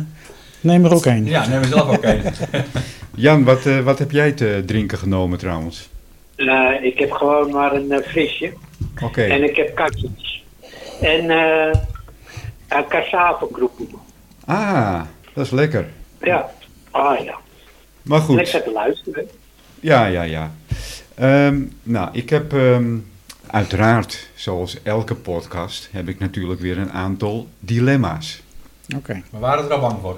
A: neem er ook een.
C: Ja, neem zelf ook een.
B: Jan, wat, eh, wat heb jij te drinken genomen trouwens?
D: Eh, ik heb gewoon maar een eh, frisje.
B: Oké,
D: En ik heb katjes. En eh een cassavengroepen.
B: ah, dat is lekker.
D: Ja. Ah ja.
B: Maar goed,
D: Lekker te luisteren.
B: ja, ja, ja. Ehm, nou, ik heb ehm, uiteraard, zoals elke podcast, heb ik natuurlijk weer een aantal dilemma's.
A: Oké.
C: We waren er al bang voor.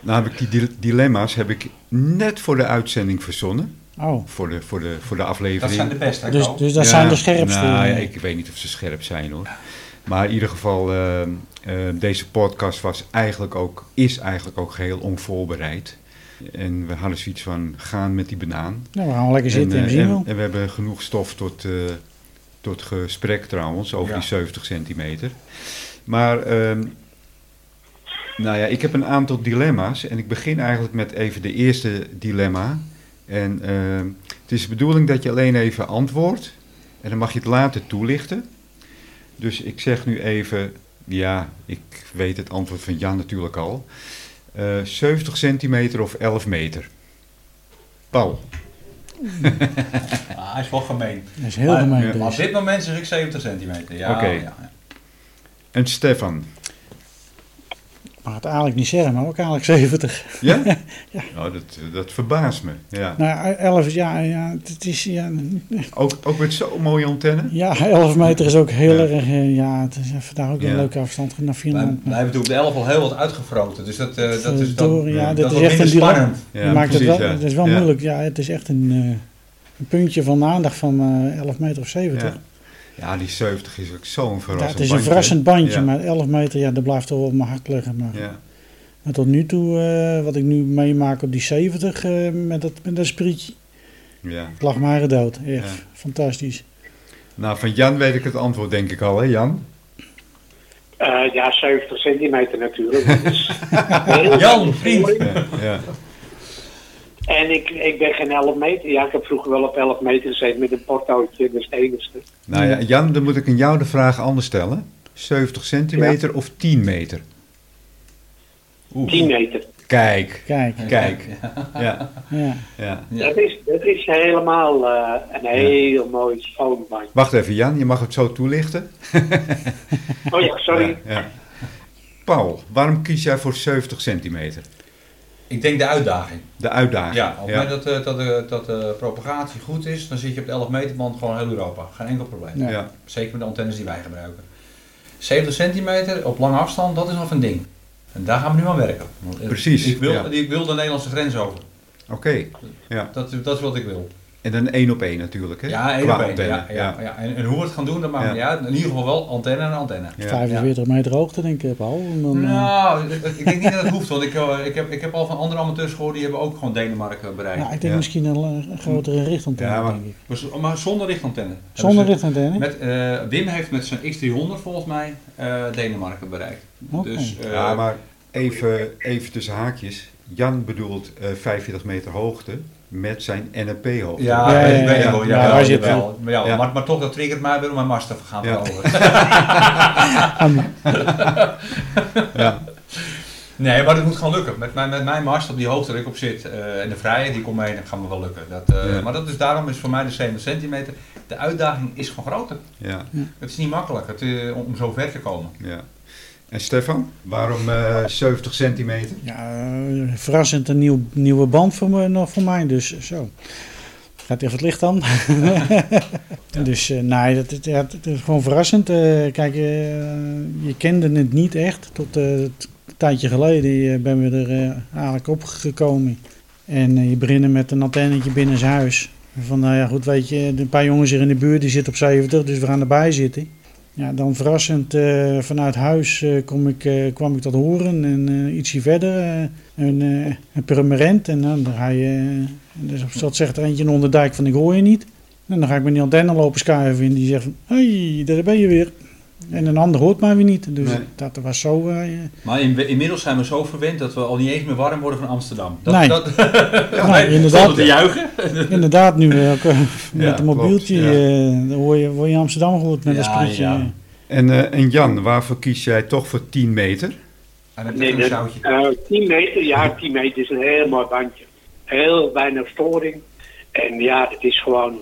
B: Nou heb ik die dil- dilemma's heb ik net voor de uitzending verzonnen,
A: Oh.
B: voor de, voor de, voor de
C: Dat
B: aflevering.
C: zijn de beste, hè,
A: Dus,
C: Ko?
A: dus dat
B: Ja,
A: zijn de scherpste.
B: Nou, ja, ik weet niet of ze scherp zijn hoor. Maar in ieder geval, ehm, ehm, deze podcast was eigenlijk ook, is eigenlijk ook geheel onvoorbereid. En we hadden zoiets van gaan met die banaan.
A: Nou, we gaan wel lekker zitten
B: en,
A: en,
B: eh,
A: zien
B: en-
A: wel.
B: en we hebben genoeg stof tot, eh, tot gesprek trouwens, over
C: Ja.
B: die 70 centimeter. Maar ehm, nou ja, ik heb een aantal dilemma's en ik begin eigenlijk met even de eerste dilemma. En ehm, het is de bedoeling dat je alleen even antwoordt En dan mag je het later toelichten. Dus ik zeg nu even, ja, ik weet het antwoord van Jan natuurlijk al. Eh, 70 centimeter of 11 meter. Paul,
C: Ah, hij is wel gemeen.
A: Dat is heel gemeen. dus.
C: Maar op
A: deze.
C: dit moment zeg ik 70 centimeter. Ja,
B: Oké.
C: ja, ja.
B: en Stefan.
A: Ik mag het eigenlijk niet zeggen, maar ook eigenlijk 70.
B: Ja? Nou, dat, dat verbaast me. Ja.
A: Nou, 11 is ja, ja, het is, ja,
B: Ook, ook met zo'n mooie antenne?
A: ja, 11 meter is ook heel
B: Ja.
A: erg. eh, Ja, het is eh, vandaag ook een
B: Ja.
A: leuke afstand naar
C: Wij,
A: Finland.
C: wij hebben natuurlijk op de 11 al heel wat uitgefroten. Dus dat, eh, dat is dan
A: Verdorie, ja,
C: dat
A: dit
C: is
A: is
C: wat
A: echt
C: minder
A: een dilemma.
C: spannend.
A: Je maakt het wel,
B: precies, ja.
A: Het is wel
B: Ja.
A: moeilijk. Ja, het is echt een, eh, een puntje van de aandacht van eh 11 meter of 70.
B: Ja. ja, die 70 is ook zo'n verrassend
A: Ja, het is
B: bandje,
A: een
B: hè?
A: verrassend bandje,
B: Ja.
A: maar 11 meter, ja, dat blijft toch wel op mijn hart liggen. Maar,
B: Ja.
A: maar tot nu toe, eh, wat ik nu meemaak op die 70 eh, met, dat, met dat sprietje,
B: Ja.
A: het lag mij dood. Echt
B: Ja.
A: fantastisch.
B: Nou, van Jan weet ik het antwoord denk ik al, hè Jan?
D: Eh, ja, 70 centimeter natuurlijk. Dat is heel
C: Jan, vriend.
B: Ja, ja.
D: En ik, ik ben geen 11 meter. Ja, ik heb vroeger wel op 11 meter gezeten met een portootje. Dat is het enigste.
B: Nou ja, Jan, dan moet ik aan jou de vraag anders stellen. 70 centimeter of 10 meter?
D: 10 meter.
B: Kijk,
A: Kijk,
B: kijk. Ja,
A: ja.
B: ja.
C: Ja.
D: Dat, is, dat is helemaal eh, een heel mooi schoon bandje.
B: Wacht even Jan, je mag het zo toelichten.
D: Oh ja, sorry.
B: Ja, ja. Paul, waarom kies jij voor 70 centimeter?
C: Ik denk de uitdaging.
B: De uitdaging.
C: Ja, op het moment dat, eh, dat, eh, dat de propagatie goed is, dan zit je op de 11 meter band gewoon heel Europa. Geen enkel probleem.
A: Ja.
B: ja.
C: Zeker met de antennes die wij gebruiken. 70 centimeter op lange afstand, dat is nog een ding. En daar gaan we nu aan werken. Want, eh,
B: Precies,
C: Ik wil,
B: ja.
C: ik wil de Nederlandse grens over.
B: Oké, ja.
C: Dat, dat is wat ik wil.
B: En dan één op één natuurlijk, hè?
C: Ja, één
B: Qua
C: op één.
B: antenne,
C: Ja, ja, ja. En, en hoe we het gaan doen, dat maakt
B: Ja.
C: niet uit. In ieder geval wel antenne en antenne.
B: Ja.
A: 45 meter hoogte denk ik, Paul. En dan, eh,
C: Nou, ik- ik denk niet dat het hoeft, want ik, eh, ik, heb, ik heb al van andere amateurs gehoord, die hebben ook gewoon Denemarken bereikt.
A: nou, ik denk
B: ja.
A: misschien een, eh, een grotere richtantenne,
B: Ja, maar-
A: denk ik.
C: Maar, z- maar zonder richtantenne.
A: Zonder
C: Hebben ze-
A: richtantenne?
C: Met, eh, Wim heeft met zijn X300 volgens mij eh, Denemarken bereikt.
A: Oké.
C: Dus, eh,
B: Ja, maar even, even tussen haakjes. Jan bedoelt eh 45 meter hoogte met zijn NAP-hoogte.
C: Ja,
A: Ja,
C: ik
A: ja,
C: weet
A: ja.
C: het wel.
A: Ja,
C: Ja,
A: daar
C: ja,
A: zit
C: wel. Maar, ja,
B: Ja.
C: Maar, maar toch, dat triggert mij weer om mijn mars te gaan
B: Ja.
C: veranderen.
A: Ah,
B: Ja.
C: Nee, maar dat moet gewoon lukken. Met mijn, met mijn mars op die hoogte waar ik op zit eh, en de vrije, die komt mee, dan gaan we wel lukken. Dat, eh,
B: Ja.
C: Maar dat is, daarom is voor mij de 70 centimeter. De uitdaging is gewoon groter.
B: ja,
C: Het is niet makkelijk het, eh, om zo ver te komen.
B: ja. En Stefan, waarom eh, 70 centimeter?
A: Ja, eh, verrassend een nieuw, nieuwe band voor, me, nog voor mij, dus zo. Gaat even het licht aan. Dus eh, nee, dat, dat, ja, dat is gewoon verrassend. Eh, kijk, eh, je kende het niet echt. Tot eh, t- een tijdje geleden eh, ben we er eh, eigenlijk opgekomen. En eh, je begint met een antennetje binnen zijn huis. Van nou ja, goed weet je, een paar jongens hier in de buurt die zitten op 70, dus we gaan erbij zitten. Ja, dan verrassend eh, vanuit huis eh, kom ik, eh, kwam ik dat horen en eh, ietsje verder eh, een, eh een permanent. En dan ga je, eh, dus op- dat zegt er eentje onder de dijk van ik hoor je niet. En dan ga ik met die antenne lopen schuiven en die zegt van, hey, daar ben je weer. En een ander hoort mij weer niet. Dus
B: Nee.
A: dat was zo... eh,
C: Maar in- inmiddels zijn we zo verwend dat we al niet eens meer warm worden van Amsterdam. Dat,
A: Nee.
C: dat,
A: nou, inderdaad,
C: zonder te juichen.
A: inderdaad, nu eh, ook, eh, met
B: Ja,
A: een mobieltje
B: klopt,
A: eh, dan hoor je, word je in Amsterdam gehoord met een
C: Ja,
A: sprietje.
C: ja.
B: En, eh, en Jan, waarvoor kies jij toch voor 10 meter?
C: En dan
D: Nee,
C: een
D: dat,
C: zoutje.
D: eh, 10 meter, ja, 10 meter is een heel mooi bandje. Heel weinig storing. En ja, het is gewoon,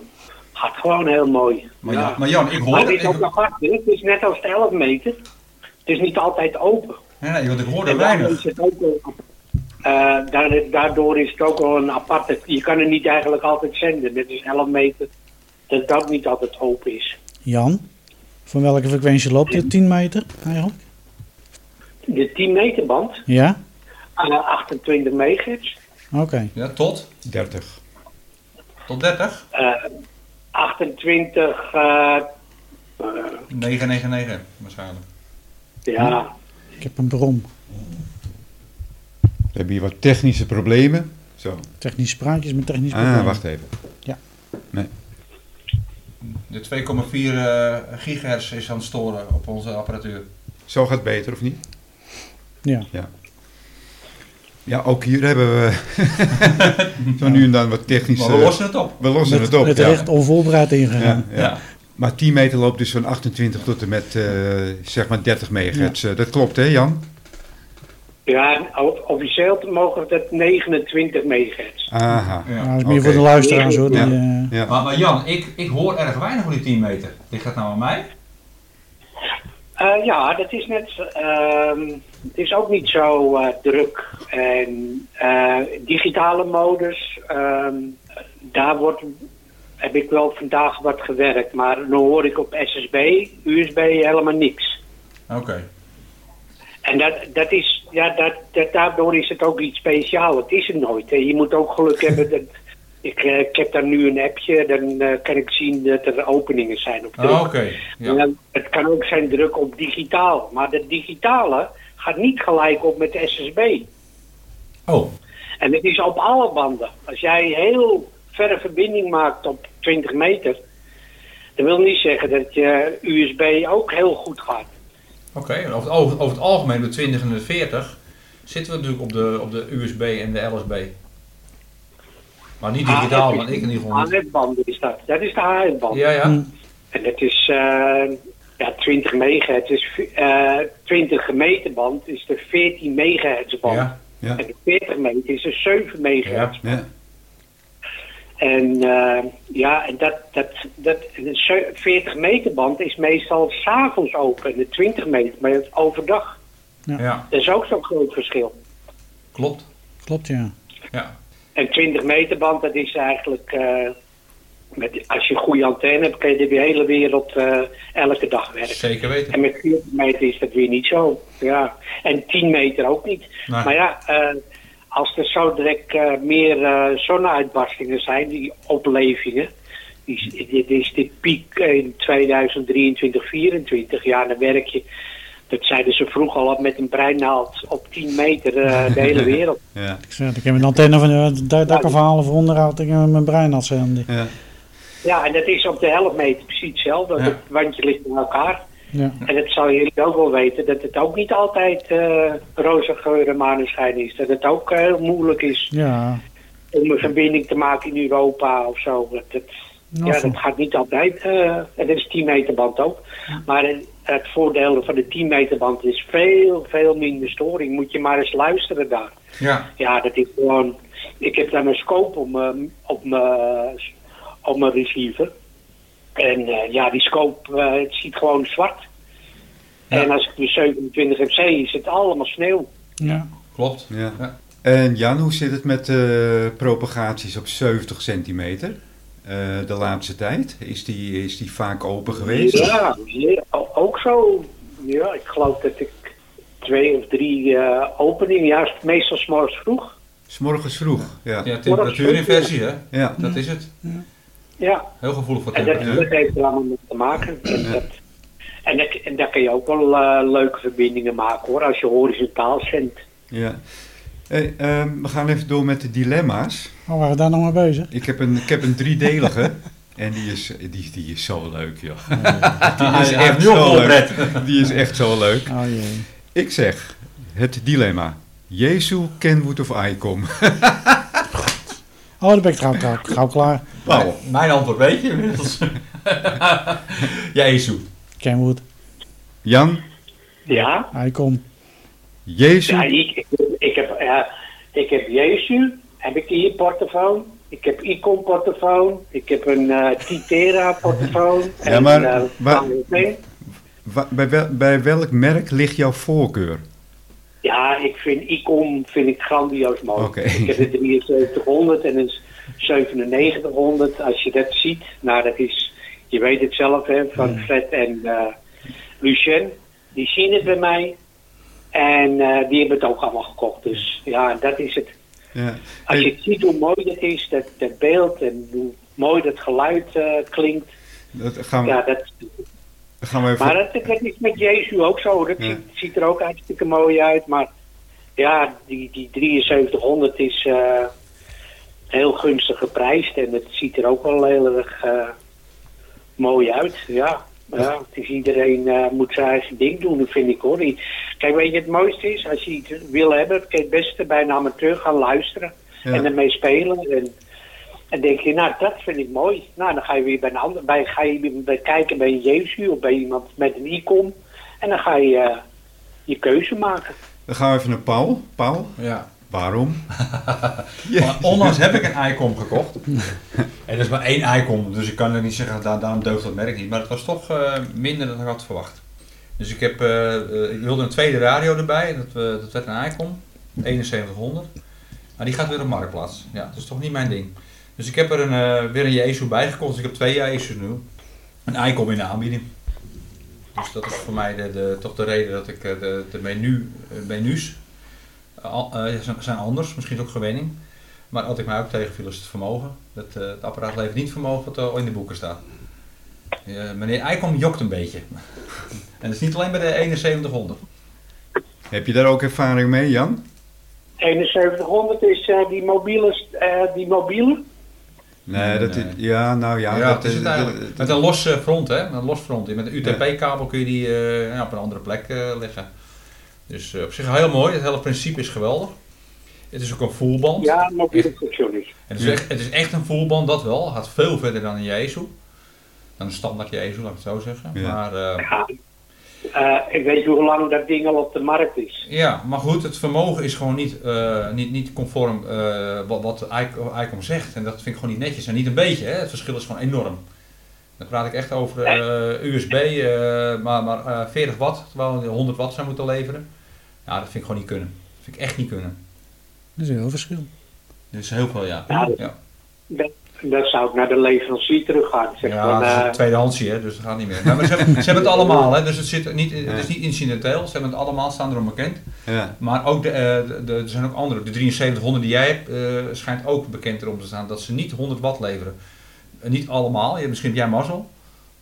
D: gaat gewoon heel mooi.
C: Maar,
D: ja.
C: Jan, maar Jan, ik
D: Maar
C: hoorde,
D: het is
C: ik,
D: ook apart, hè. het is net als de 11 meter. Het is niet altijd open.
C: nee, nee, want ik hoorde
D: En daardoor
C: weinig.
D: is het ook wel- eh, daar- daardoor is het ook wel een aparte. Je kan het niet eigenlijk altijd zenden. Dit is 11 meter. Dat dat niet altijd open is.
A: Jan, van welke frequentie loopt dit? 10 meter eigenlijk?
D: De 10 meter band,
A: Ja?
D: eh, 28 megahertz.
A: Oké.
C: Ja, tot?
B: 30.
C: Tot 30?
D: eh, 28, eh,
C: 999 waarschijnlijk.
D: ja,
A: Ik heb een bron.
B: We hebben hier wat technische problemen. Zo.
A: Technische praatjes met technische
B: Ah,
A: problemen.
B: wacht even.
C: De 2,4 eh, gigahertz is aan het storen op onze apparatuur.
B: Zo gaat het beter, of niet?
A: Ja.
B: Ja, ook hier hebben we zo nu en dan wat
C: Maar
B: technische...
C: we lossen het op.
B: we lossen
A: Met,
B: het op,
A: met
B: ja.
A: recht onvoorbereid ingegaan.
B: Ja, ja.
C: Ja.
B: Maar 10 meter loopt dus van 28 tot en met eh, zeg maar 30 megahertz. Eh, Dat klopt hè Jan?
D: Ja, o- officieel te mogen we dat 29 megahertz.
B: Aha.
C: Ja.
A: Ja,
C: Ah.
A: dat is meer
B: Oké.
A: voor de luisteraars hoor. Die,
B: Ja.
A: eh,
B: Ja.
C: Maar, maar Jan, ik, ik hoor erg weinig van die 10 meter. Ligt dat nou aan mij?
D: Eh, ja, dat is net. ehm, het is ook niet zo eh, druk. En eh, digitale modus, ehm, daar wordt, heb ik wel vandaag wat gewerkt. Maar dan hoor ik op SSB, USB helemaal niks.
C: Oké.
D: En dat, dat is, ja, dat, dat, daardoor is het ook iets speciaals. Het is het nooit. hè. Je moet ook geluk hebben. Dat, ik, eh, ik heb daar nu een appje, dan eh, kan ik zien dat er openingen zijn op de
C: Ah, Oké. Ja.
D: En het kan ook zijn druk op digitaal. Maar dat digitale gaat niet gelijk op met de SSB.
C: Oh,
D: En het is op alle banden. Als jij heel verre verbinding maakt op 20 meter... dat wil niet zeggen dat je USB ook heel goed gaat.
C: oké. Over, het- over, over het algemeen, de 20 en de 40, zitten we natuurlijk op de, op de USB en de LSB. Maar niet digitaal, want ik in ieder geval niet.
D: AF-band is dat. Dat is de AF-band.
C: Ja, ja.
D: En dat is... eh, ja, 20 megahertz is... vi- eh 20 meter band is de 14 megahertz band.
C: ja.
B: Ja.
D: En de 40 meter is de 7 megahertz
C: Ja.
B: Ja.
D: En eh, ja, en dat, dat, dat, de ze- 40 meter band is meestal s'avonds open en de 20 meter maar overdag.
C: ja,
D: Dat is ook zo'n groot verschil.
C: klopt.
A: klopt, ja.
C: Ja.
D: En 20 meter band, dat is eigenlijk, eh, met, als je een goede antenne hebt, kan je de hele wereld eh, elke dag werken.
C: Zeker weten.
D: En met 40 meter is dat weer niet zo. Ja. En 10 meter ook niet.
C: Nee.
D: Maar ja, eh, als er zo direct eh, meer eh, zonneuitbarstingen zijn, die oplevingen. die- Dit is dit piek in 2023, 2024. Ja, dan werk je. Dat zeiden ze vroeg al met een breinaald op 10 meter eh, de hele wereld.
B: Ja.
A: Ik zeg, ik heb een antenne van eh, het dak- dak afhalen voor onderhoud. Ik heb mijn brein al zijn.
B: Ja.
D: Ja, en dat is op de helft meter precies hetzelfde.
C: Ja.
D: Het wandje ligt bij elkaar.
A: Ja.
D: En dat zal jullie ook wel weten, dat het ook niet altijd eh roze geur en maneschijn is. Dat het ook eh, heel moeilijk is
A: ja.
D: om een verbinding te maken in Europa of zo. Dat, dat-
A: Nou,
D: ja,
A: zo.
D: dat gaat niet altijd. eh, en dat is 10 meter band ook. Maar eh, het voordeel van de 10 meter band is veel, veel minder storing. Moet je maar eens luisteren daar.
C: Ja.
D: Ja, dat is gewoon... Ik heb daar mijn scope op mijn, op mijn, op mijn receiver. En eh, ja, die scope eh, het ziet gewoon zwart.
C: Ja.
D: En als ik dus de 27 heb, zie, is het allemaal sneeuw.
A: ja.
C: Klopt.
B: Ja.
C: Ja.
B: En Jan, hoe zit het met eh, propagaties op 70 centimeter eh, de laatste tijd? Is die, is die vaak open geweest?
D: Ja, ja, o- ook zo. Ja, ik geloof dat ik twee of drie eh, openingen, ja, meestal s'morgens vroeg.
B: S morgens vroeg, ja. Ja.
C: Ja, temperatuurinversie, hè?
B: ja.
C: Dat is het.
D: Ja,
C: Heel gevoelig voor
D: En dat,
C: temperatuur.
D: dat heeft er allemaal mee te maken. En, dat, en, dat, en daar kun je ook wel eh, leuke verbindingen maken hoor, als je horizontaal zendt.
B: Hey, ehm, we gaan even door met de dilemma's.
A: Oh, waren we daar nog mee bezig?
B: Ik heb een, ik heb een driedelige. En die is, die, die is zo leuk, joh. Die is
C: Ja,
B: dus echt
C: nu
B: zo
C: al
B: leuk. Die is echt zo leuk.
A: Oh jee.
B: Ik zeg, het dilemma. Jezu, Kenwood of Icom?
A: Oh, daar ben ik trouwens gauw, gauw klaar.
B: Paul.
C: Mijn- Mijn antwoord weet je inmiddels. ja, Isu.
A: Kenwood,
B: Jan,
D: Ja,
A: Icon.
B: Jezu.
D: ja ik, ik, ik heb, eh, ik heb Jezus, heb ik hier portofoon. Ik heb Icon portofoon, ik heb een eh, Titera portofoon.
B: Ja, maar-
D: en, eh,
B: maar-
D: KWP.
B: Wa- Bij, wel- bij welk merk ligt jouw voorkeur?
D: Ja, ik vind Icon vind ik grandioos mooi.
B: Oké.
D: Ik heb een 7300 en een 9700. Als je dat ziet, nou dat is, je weet het zelf hè, van
B: Hmm.
D: Fred en eh, Lucien. Die zien het bij mij en eh, die hebben het ook allemaal gekocht. Dus ja, dat is het.
B: Ja.
D: Als je
B: Hey,
D: ziet hoe mooi dat is, dat, dat beeld en hoe mooi dat geluid eh, klinkt.
B: dat gaan,
D: Ja,
B: we,
D: dat,
B: gaan we
D: maar
B: even...
D: dat, dat is met Jezus ook zo. Dat
B: Ja.
D: ziet, ziet er ook hartstikke mooi uit. Maar ja, die, die 7300 is eh, heel gunstig geprijsd. En het ziet er ook wel heel erg eh, mooi uit. Ja. Ja, het is iedereen eh, moet zijn eigen ding doen, dat vind ik hoor. I- Kijk, weet je, het mooiste is, als je iets wil hebben, kan je het beste bij een amateur gaan luisteren
B: Ja.
D: en ermee spelen. En En denk je, nou, dat vind ik mooi. Nou, dan ga je weer bij een ander, bij, ga je weer bij kijken bij Jezus of bij iemand met een icon. En dan ga je eh, je keuze maken.
B: Dan gaan we even naar Paul. Paul,
C: Ja.
B: waarom?
C: Maar onlangs heb ik een Icon gekocht. En dat is maar één Icon, dus ik kan er niet zeggen, daar, daarom deugt dat merk niet. Maar het was toch eh, minder dan ik had verwacht. Dus ik, heb, eh, eh, ik wilde een tweede radio erbij, dat, eh, dat werd een Icon, 7100. Maar die gaat weer op Marktplaats. Ja, dat is toch niet mijn ding. Dus ik heb er een, eh, weer een Jezus bij gekocht, dus ik heb twee Jezus nu. Een Icon in de aanbieding. Dus dat is voor mij de, de, toch de reden dat ik eh, de, de menu, eh, menus eh, al- eh, zijn- zijn anders, misschien is het ook gewenning. Maar wat ik mij ook tegenviel is het vermogen. Dat, eh, het apparaat levert niet het vermogen wat eh, in de boeken staat. Eh, meneer Eikom jokt een beetje. en dat is niet alleen bij de 7100.
B: Heb je daar ook ervaring mee, Jan?
D: 7100 is eh, die mobiele, eh, die mobiele.
B: Nee, dat
C: nee.
B: is, ja, nou ja.
C: Ja, dat is het eigenlijk.
B: dat-
C: Met een los eh, front, hè? Met een los front. Met een
B: Ja.
C: UTP-kabel kun je die eh, ja, op een andere plek eh, leggen. Dus eh, op zich heel mooi. Het hele principe is geweldig. Het is ook een voelband.
D: Ja, mobiele functionaries.
C: En Het is, echt, het is echt een voelband, dat wel. Het gaat veel verder dan een Jezu. Dan een standaard Jezu, laat ik het zo zeggen.
B: Ja.
C: Maar eh,
D: Ja. Eh, ik weet hoe lang dat ding al op de markt is.
C: Ja, maar goed, het vermogen is gewoon niet, eh, niet, niet conform eh, wat, wat ICOM ICOM zegt. En dat vind ik gewoon niet netjes. En niet een beetje, hè? het verschil is gewoon enorm. Dan praat ik echt over eh, USB, eh, maar, maar eh, 40 watt, terwijl je 100 watt zou moeten leveren. Ja, dat vind ik gewoon niet kunnen. Dat vind ik echt niet kunnen.
A: Dat is een heel verschil.
C: Dus heel veel, ja.
D: Ja, dat-
C: ja.
D: Dat, dat zou ik naar de leverancier terug gaan. Zeg
C: Ja,
D: van,
C: dat is
D: eh,
C: een tweedehandsie, hè, dus dat gaat niet meer. Maar ze, hebben, ze hebben het allemaal, hè, dus het, zit niet, het is niet incidenteel. Ze hebben het allemaal, staan erom bekend.
B: Ja,
C: Maar ook de, eh, de- de- er zijn ook andere. De 7300 die jij hebt, eh, schijnt ook bekend erom te staan dat ze niet 100 watt leveren. Eh, niet allemaal, je, misschien heb jij mazzel.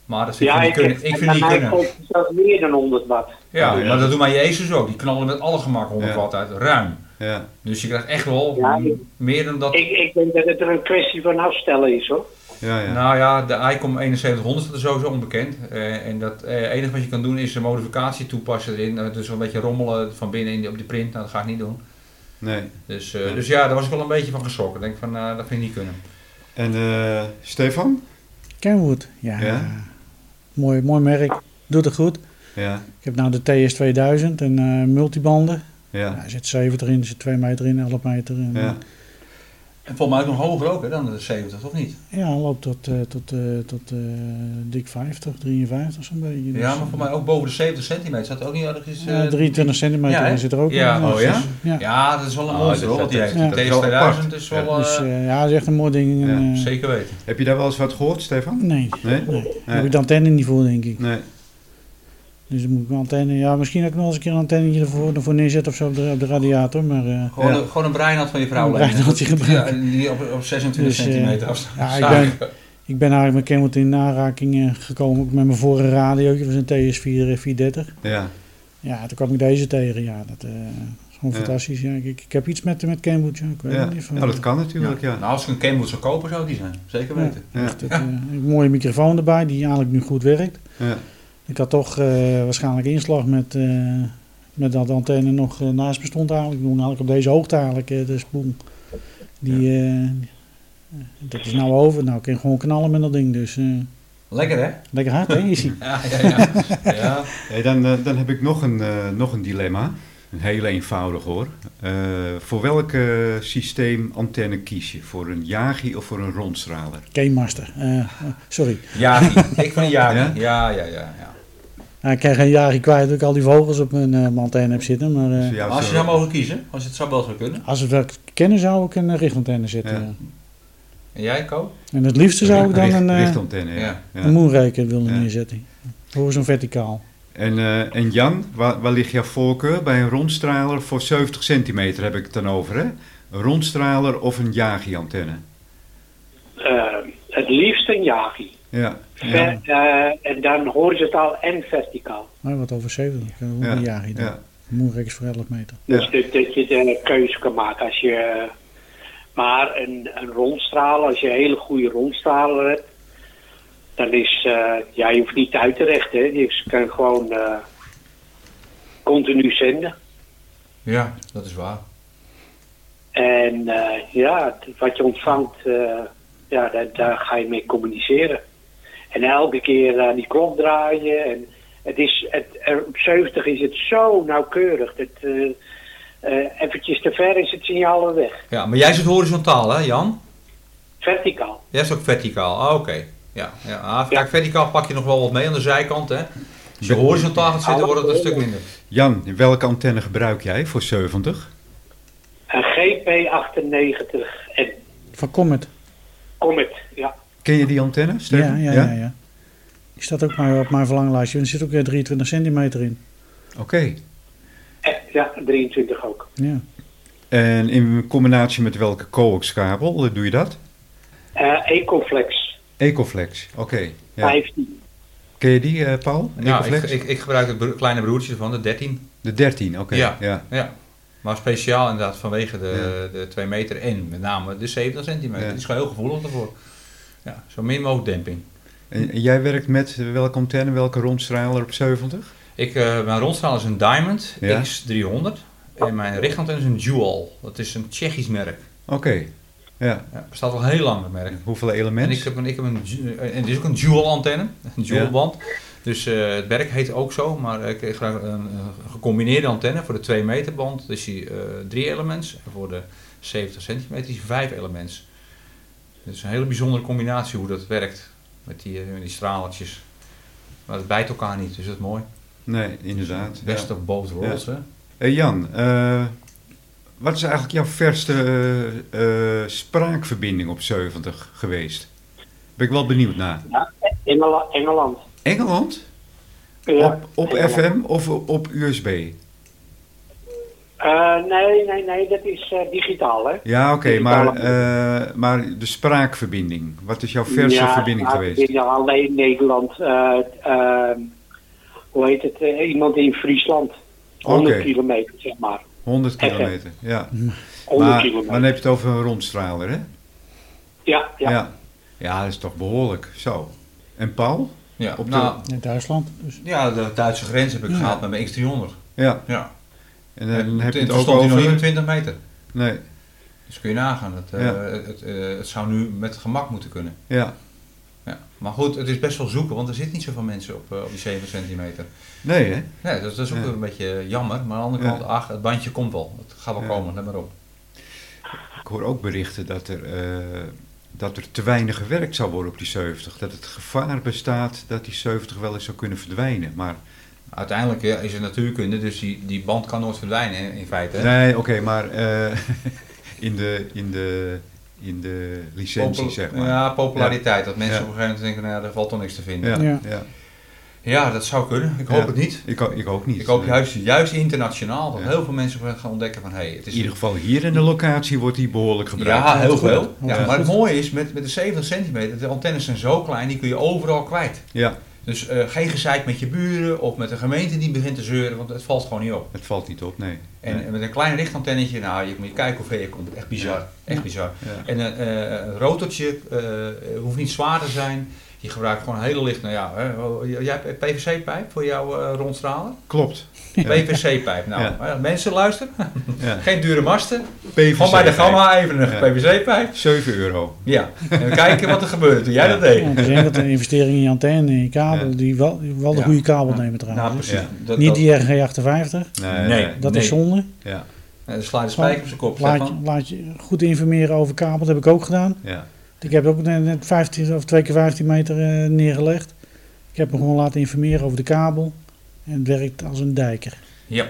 C: Maar dat vind ik
D: ja,
C: niet
D: ik,
C: kunnen. Ik vind
D: naar
C: niet
D: mij
C: kunnen.
D: komt het zelfs meer dan 100 watt.
C: Ja,
B: Ja.
C: maar dat doen mijn Jezus ook. Die knallen met alle gemak 100
B: Ja.
C: watt uit, ruim.
B: ja.
C: Dus je krijgt echt wel
D: Ja,
C: m-
D: ik-
C: meer dan dat.
D: Ik, ik denk dat het er een kwestie van afstellen is hoor.
B: ja, ja.
C: Nou ja, de ICOM 7100 staat er sowieso onbekend. Eh, en dat eh, enige wat je kan doen is een modificatie toepassen erin. Eh, dus een beetje rommelen van binnen in die- op die print. Nou, dat ga ik niet doen.
B: nee.
C: Dus, eh, dus ja, daar was ik wel een beetje van geschrokken. Ik denk van, eh, dat vind ik niet kunnen.
B: En eh, Stefan?
A: Kenwood, ja.
B: Ja?
A: Mooi, mooi merk. Doet het goed.
B: Ja,
A: Ik heb nou de TS2000 en eh, multibanden. Ja.
B: ja,
A: er zit 70 in, er zit 2 meter in, 11 meter in.
B: ja.
C: En volgens mij ook nog hoger ook, hè, dan de 70, of niet?
A: Ja, loopt tot, eh, tot, eh, tot eh, dik 50, 53 zo'n beetje. Dus,
C: Ja, maar voor mij ook boven de 70 centimeter. Zat ook niet ergens...
A: eh,
C: eh,
A: 23 centimeter
C: ja, hè?
A: in zit er ook
C: Ja,
A: in. dus
B: oh ja?
A: Ja.
C: Ja, dat is wel een
B: Oh,
C: monster,
B: dat-
C: hoor.
B: dat-
C: Die heeft
A: dat-
C: de
B: dat is wel apart.
C: TS2000 is wel...
A: Dus
C: eh,
A: eh, ja, dat is echt een mooi ding. En,
B: Ja,
A: eh,
C: Zeker weten.
B: Heb je daar wel eens wat gehoord, Stefan?
A: Nee,
B: Nee?
A: nee. Daar heb ik de antenne niet voor, denk ik.
B: Nee.
A: Dus dan moet ik een antenne... Ja, misschien ook nog eens een keer een antennetje ervoor, ervoor neerzetten of zo op de, op de radiator. Maar eh,
C: Gewoon,
B: Ja.
C: een- gewoon een breinat van je vrouw
A: Een
C: lenen.
A: breinnaaldje
C: Ja,
A: gebruiken.
C: en die op, op 26
A: Dus, eh,
C: centimeter afstand.
A: ja, ik
C: Zagen.
A: ik ben eigenlijk met Kenwood in aanraking eh, gekomen. Ook met mijn vorige radio, dat was een TS430.
B: Ja,
A: eh, Ja, toen kwam ik deze tegen. Ja, dat eh, is gewoon
B: Ja.
A: fantastisch. Ja, ik, ik heb iets met, met Kenwood, ja. Ik weet
B: ja.
A: het niet van...
B: ja, dat kan natuurlijk,
C: Ja.
B: ja.
C: Nou, als ik een Kenwood zou kopen, zou die zijn. Zeker
A: Ja.
C: weten.
B: Ja,
A: Echt, het, eh, een mooie microfoon erbij, die eigenlijk nu goed werkt.
B: ja.
A: Ik had toch eh, waarschijnlijk inslag met, eh, met dat de antenne nog eh, naast bestond eigenlijk. Toen had ik op deze hoogte eigenlijk eh, de spoel. Die, eh, dat is nou over. Nou, ik kan gewoon knallen met dat ding. Dus eh,
C: Lekker, hè?
A: lekker hard, hè? Is ie.
C: Ja, ja, ja. ja.
B: Hey, dan, eh, dan heb ik nog een, eh, nog een dilemma. Een heel eenvoudig hoor. Eh, voor welk eh, systeem antenne kies je? Voor een Yagi of voor een rondstraler?
A: Game Master. Eh, sorry.
C: Jagi. Ik van een Jagi.
B: Ja?
C: Ja, ja, ja. ja.
A: Nou, ik krijg een jaar kwijt dat ik al die vogels op mijn, eh, mijn antenne heb zitten. Maar eh,
B: Dus ja,
C: Maar als je
B: zo-
C: zou mogen kiezen, als je het zou wel zou kunnen.
A: als het wel kennen zou ik een richtantenne zitten.
B: Ja.
A: ja.
C: En jij, Ko?
A: En het liefste zou ik dan
B: Richt-
A: een, eh,
B: richtantenne, ja.
C: Ja.
B: Ja.
A: een moonraker willen
B: Ja.
A: neerzetten. Horizon verticaal.
B: En, eh, en Jan, waar, waar ligt jouw voorkeur? Bij een rondstraler voor 70 centimeter heb ik het dan over, hè? Een rondstraler of een Yagi-antenne?
D: Eh, het liefst een jagi.
B: Ja.
D: Ver- eh, en dan horizontaal en verticaal.
A: Maar Nou, wat over 70, dat ook
B: Ja.
A: een jaar hier.
B: Ja.
A: Moonrakers voor 11 meter.
D: Dus
B: Ja.
D: dat, dat je de keuze kan maken als je. eh, Maar een, een rondstraler, als je een hele goede rondstraler hebt, dan is. eh, ja, je hoeft niet uit te rechten. Hè. Je kan gewoon eh, continu zenden.
C: Ja, dat is waar.
D: En eh, ja, wat je ontvangt, eh, ja, daar, daar ga je mee communiceren. En elke keer aan die klok draaien. En het is, het, er- op 70 is het zo nauwkeurig. Dat, eh, eh, eventjes te ver is het signaal weer weg.
C: Ja, maar jij zit horizontaal, hè, Jan?
D: Verticaal.
C: Jij is ook verticaal. Ah, oké. Ja, ja. Ah, kijk, verticaal pak je nog wel wat mee aan de zijkant, hè? Als je
B: Ja.
C: horizontaal gaat zitten, wordt het een stuk minder.
B: Jan, welke antenne gebruik jij voor 70?
D: Een GP98 en
A: Van Comet.
D: Comet, ja.
B: Ken je die antenne, Steven?
A: Ja, ja, ja, ja. Die staat ook maar op mijn verlanglijstje. Er zit ook weer 23 centimeter in.
B: Oké.
D: Eh, Ja, 23 ook.
A: Ja.
B: En in combinatie met welke coaxkabel eh, doe je dat?
D: Eh, Ecoflex,
B: Ecoflex, oké. Ja.
D: 15.
B: Ken je die, eh, Paul?
C: Ja, Nou, ik,
B: Ecoflex?
C: ik, ik gebruik het bro- kleine broertje van de 13.
B: De 13, oké.
C: Ja.
B: Ja.
C: Ja. Maar speciaal inderdaad vanwege de, de 2 meter en met name de 70 centimeter.
B: Ja.
C: Die is gewoon heel gevoelig daarvoor. Ja, zo min mogelijk demping.
B: En en jij werkt met eh, welke antenne, welke rondstraler op 70?
C: Ik, eh, mijn rondstraal is een Diamond
B: Ja.
C: X300 en mijn richtantenne is een Jewel. Dat is een Tsjechisch merk.
B: Oké. Ja.
C: Ja, bestaat al heel lang het merk.
B: Hoeveel
C: En
B: elementen?
C: ik heb een, ik heb een, ju- eh, en het is ook een dual antenne, een dual
B: Ja.
C: band. Dus eh, het werk heet ook zo, maar ik kreeg graag een, eh, gecombineerde antenne voor de 2 meter band. Dus die eh, drie elements en voor de 70 centimeter is die vijf elements. Het is een hele bijzondere combinatie hoe dat werkt met die, eh, met die stralertjes. Maar het bijt elkaar niet, dus dat is mooi.
B: Nee, inderdaad.
C: Best
B: ja.
C: of both worlds, hè?
B: Eh, Jan, eh, wat is eigenlijk jouw verste eh, eh, spraakverbinding op 70 geweest? Ben ik wel benieuwd naar.
D: Engela- Engeland.
B: Engeland?
D: Ja,
B: Op, op
D: Engeland.
B: FM of op USB?
D: Eh, nee, nee, nee, dat is eh, digitaal, hè?
B: Ja, oké,
D: Digitale
B: maar, eh, maar de spraakverbinding. Wat is jouw verse
D: Ja,
B: verbinding
D: ja,
B: geweest?
D: ik denk dat alleen Nederland. eh, eh, hoe heet het? eh, iemand in Friesland. 100
B: Oké.
D: kilometer, zeg maar.
B: 100
D: FM.
B: kilometer, ja.
D: 100
B: Maar, maar
D: kilometer.
B: dan heb je het over een rondstraler, hè?
D: ja, ja.
B: ja. Ja, dat is toch behoorlijk. Zo. En Paul?
C: Ja,
B: Op de-
C: nou,
A: In Duitsland. Dus.
C: ja, de Duitse grens heb ik gehaald met mijn X300.
B: Ja.
C: Ja.
B: En dan heb je
C: En
B: het
C: toen
B: ook
C: stond hij nog niet op
B: over...
C: 20 meter.
B: Nee,
C: Dus kun je nagaan, het, eh,
B: Ja.
C: het, eh, het zou nu met gemak moeten kunnen.
B: ja.
C: Ja. Maar goed, het is best wel zoeken, want er zitten niet zoveel mensen op, eh, op die 7 centimeter.
B: Nee, hè?
C: Nee, dat, dat is ook
B: Ja.
C: een beetje jammer, maar aan de andere
B: Ja.
C: kant, ach, het bandje komt wel. Het gaat wel
B: Ja.
C: komen, let maar op.
B: Ik hoor ook berichten dat er, eh, dat er te weinig gewerkt zou worden op die 70. Dat het gevaar bestaat dat die 70 wel eens zou kunnen verdwijnen. Maar
C: Uiteindelijk ja, is het natuurkunde, dus die, die band kan nooit verdwijnen in, in feite. hè.
B: Nee, oké, maar eh, in, de, in, de, in de licentie,
C: Popul-
B: zeg maar.
C: Ja, populariteit. Dat mensen
B: Ja.
C: op een gegeven moment denken, nou, daar valt toch niks te vinden. Ja,
B: ja,
A: Ja.
B: ja.
C: dat zou kunnen. Ik hoop
B: Ja.
C: het niet.
B: Ik, ho- ik ook niet.
C: Ik hoop
B: Eh,
C: juist, juist internationaal, dat
B: Ja.
C: heel veel mensen gaan ontdekken van, hé, hey, het
B: In
C: is
B: ieder geval hier in de locatie wordt die behoorlijk gebruikt.
C: Ja, heel
A: Goed.
C: veel. Ja,
A: Ja.
C: maar het mooie is, met, met de 70 centimeter, de antennes zijn zo klein, die kun je overal kwijt.
B: Ja,
C: Dus eh, geen gezeik met je buren of met de gemeente die begint te zeuren, want het valt gewoon niet op.
B: het valt niet op, nee.
C: En
B: Nee.
C: met een klein richtantennetje, nou, je moet je kijken hoe ver je komt. Echt bizar. Echt bizar.
B: Ja.
C: En een, eh, een rotortje eh, hoeft niet zwaar te zijn. Je gebruikt gewoon hele licht. Nou ja, hè, oh, jij hebt PVC-pijp voor jouw eh, rondstralen?
B: Klopt.
C: PVC-pijp. Nou,
B: Ja.
C: hè, mensen luisteren.
B: Ja.
C: Geen dure masten.
B: PVC
C: Gewoon bij de gamma even een
B: Ja.
C: PVC-pijp.
B: 7 euro.
C: Ja, en we kijken wat er gebeurde toen jij
B: Ja.
C: dat deed.
A: Ja, ik denk dat een investering eh, in je antenne, in je kabel,
B: Ja.
A: die wel, wel de
C: Ja.
A: goede kabel nemen trouwens.
C: Nou, precies.
B: Ja.
C: Dat,
A: Niet
C: dat-
A: die RG58,
B: Nee.
C: Nee.
A: dat
C: Nee.
A: is zonde.
B: Ja,
C: eh, dan sla je de spijker op zijn kop. zeg
A: Laat je,
C: van.
A: laat je goed informeren over kabel, dat heb ik ook gedaan.
B: ja.
A: Ik heb ook net net 15 of 2 keer 15 meter eh, neergelegd. Ik heb me gewoon laten informeren over de kabel. En het werkt als een dijker.
C: Ja.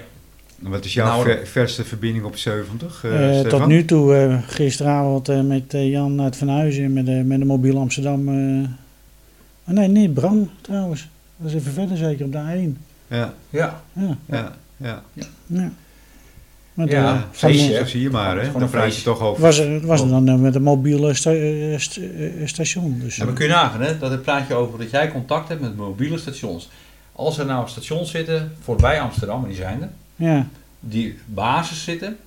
B: En Wat is jouw
C: Nou,
B: ver- verste verbinding op 70, eh,
A: Eh,
B: Stefan?
A: tot nu toe, eh, gisteravond eh, met eh, Jan uit Van Huizen en met, eh, met de mobiel Amsterdam. eh, oh nee, nee, Bram trouwens. Dat is even verder zeker op de A1.
B: Ja,
C: Ja,
A: Ja,
B: ja, ja.
A: ja. Maar
C: Ja,
A: eh,
B: Zo
C: feestje,
A: vanmorgen
C: hè?
B: zie je maar,
C: Het is
B: hè.
C: gewoon
B: Dan
C: een
B: praat je
C: feestje.
B: toch over.
A: was er, was er dan eh, met een mobiele sta- eh, st- eh, station. Dus,
C: en we kunnen nagaan, hè? dat praat je over dat jij contact hebt met mobiele stations. Als er nou stations zitten voorbij Amsterdam, en die zijn er,
A: ja,
C: die basis zitten,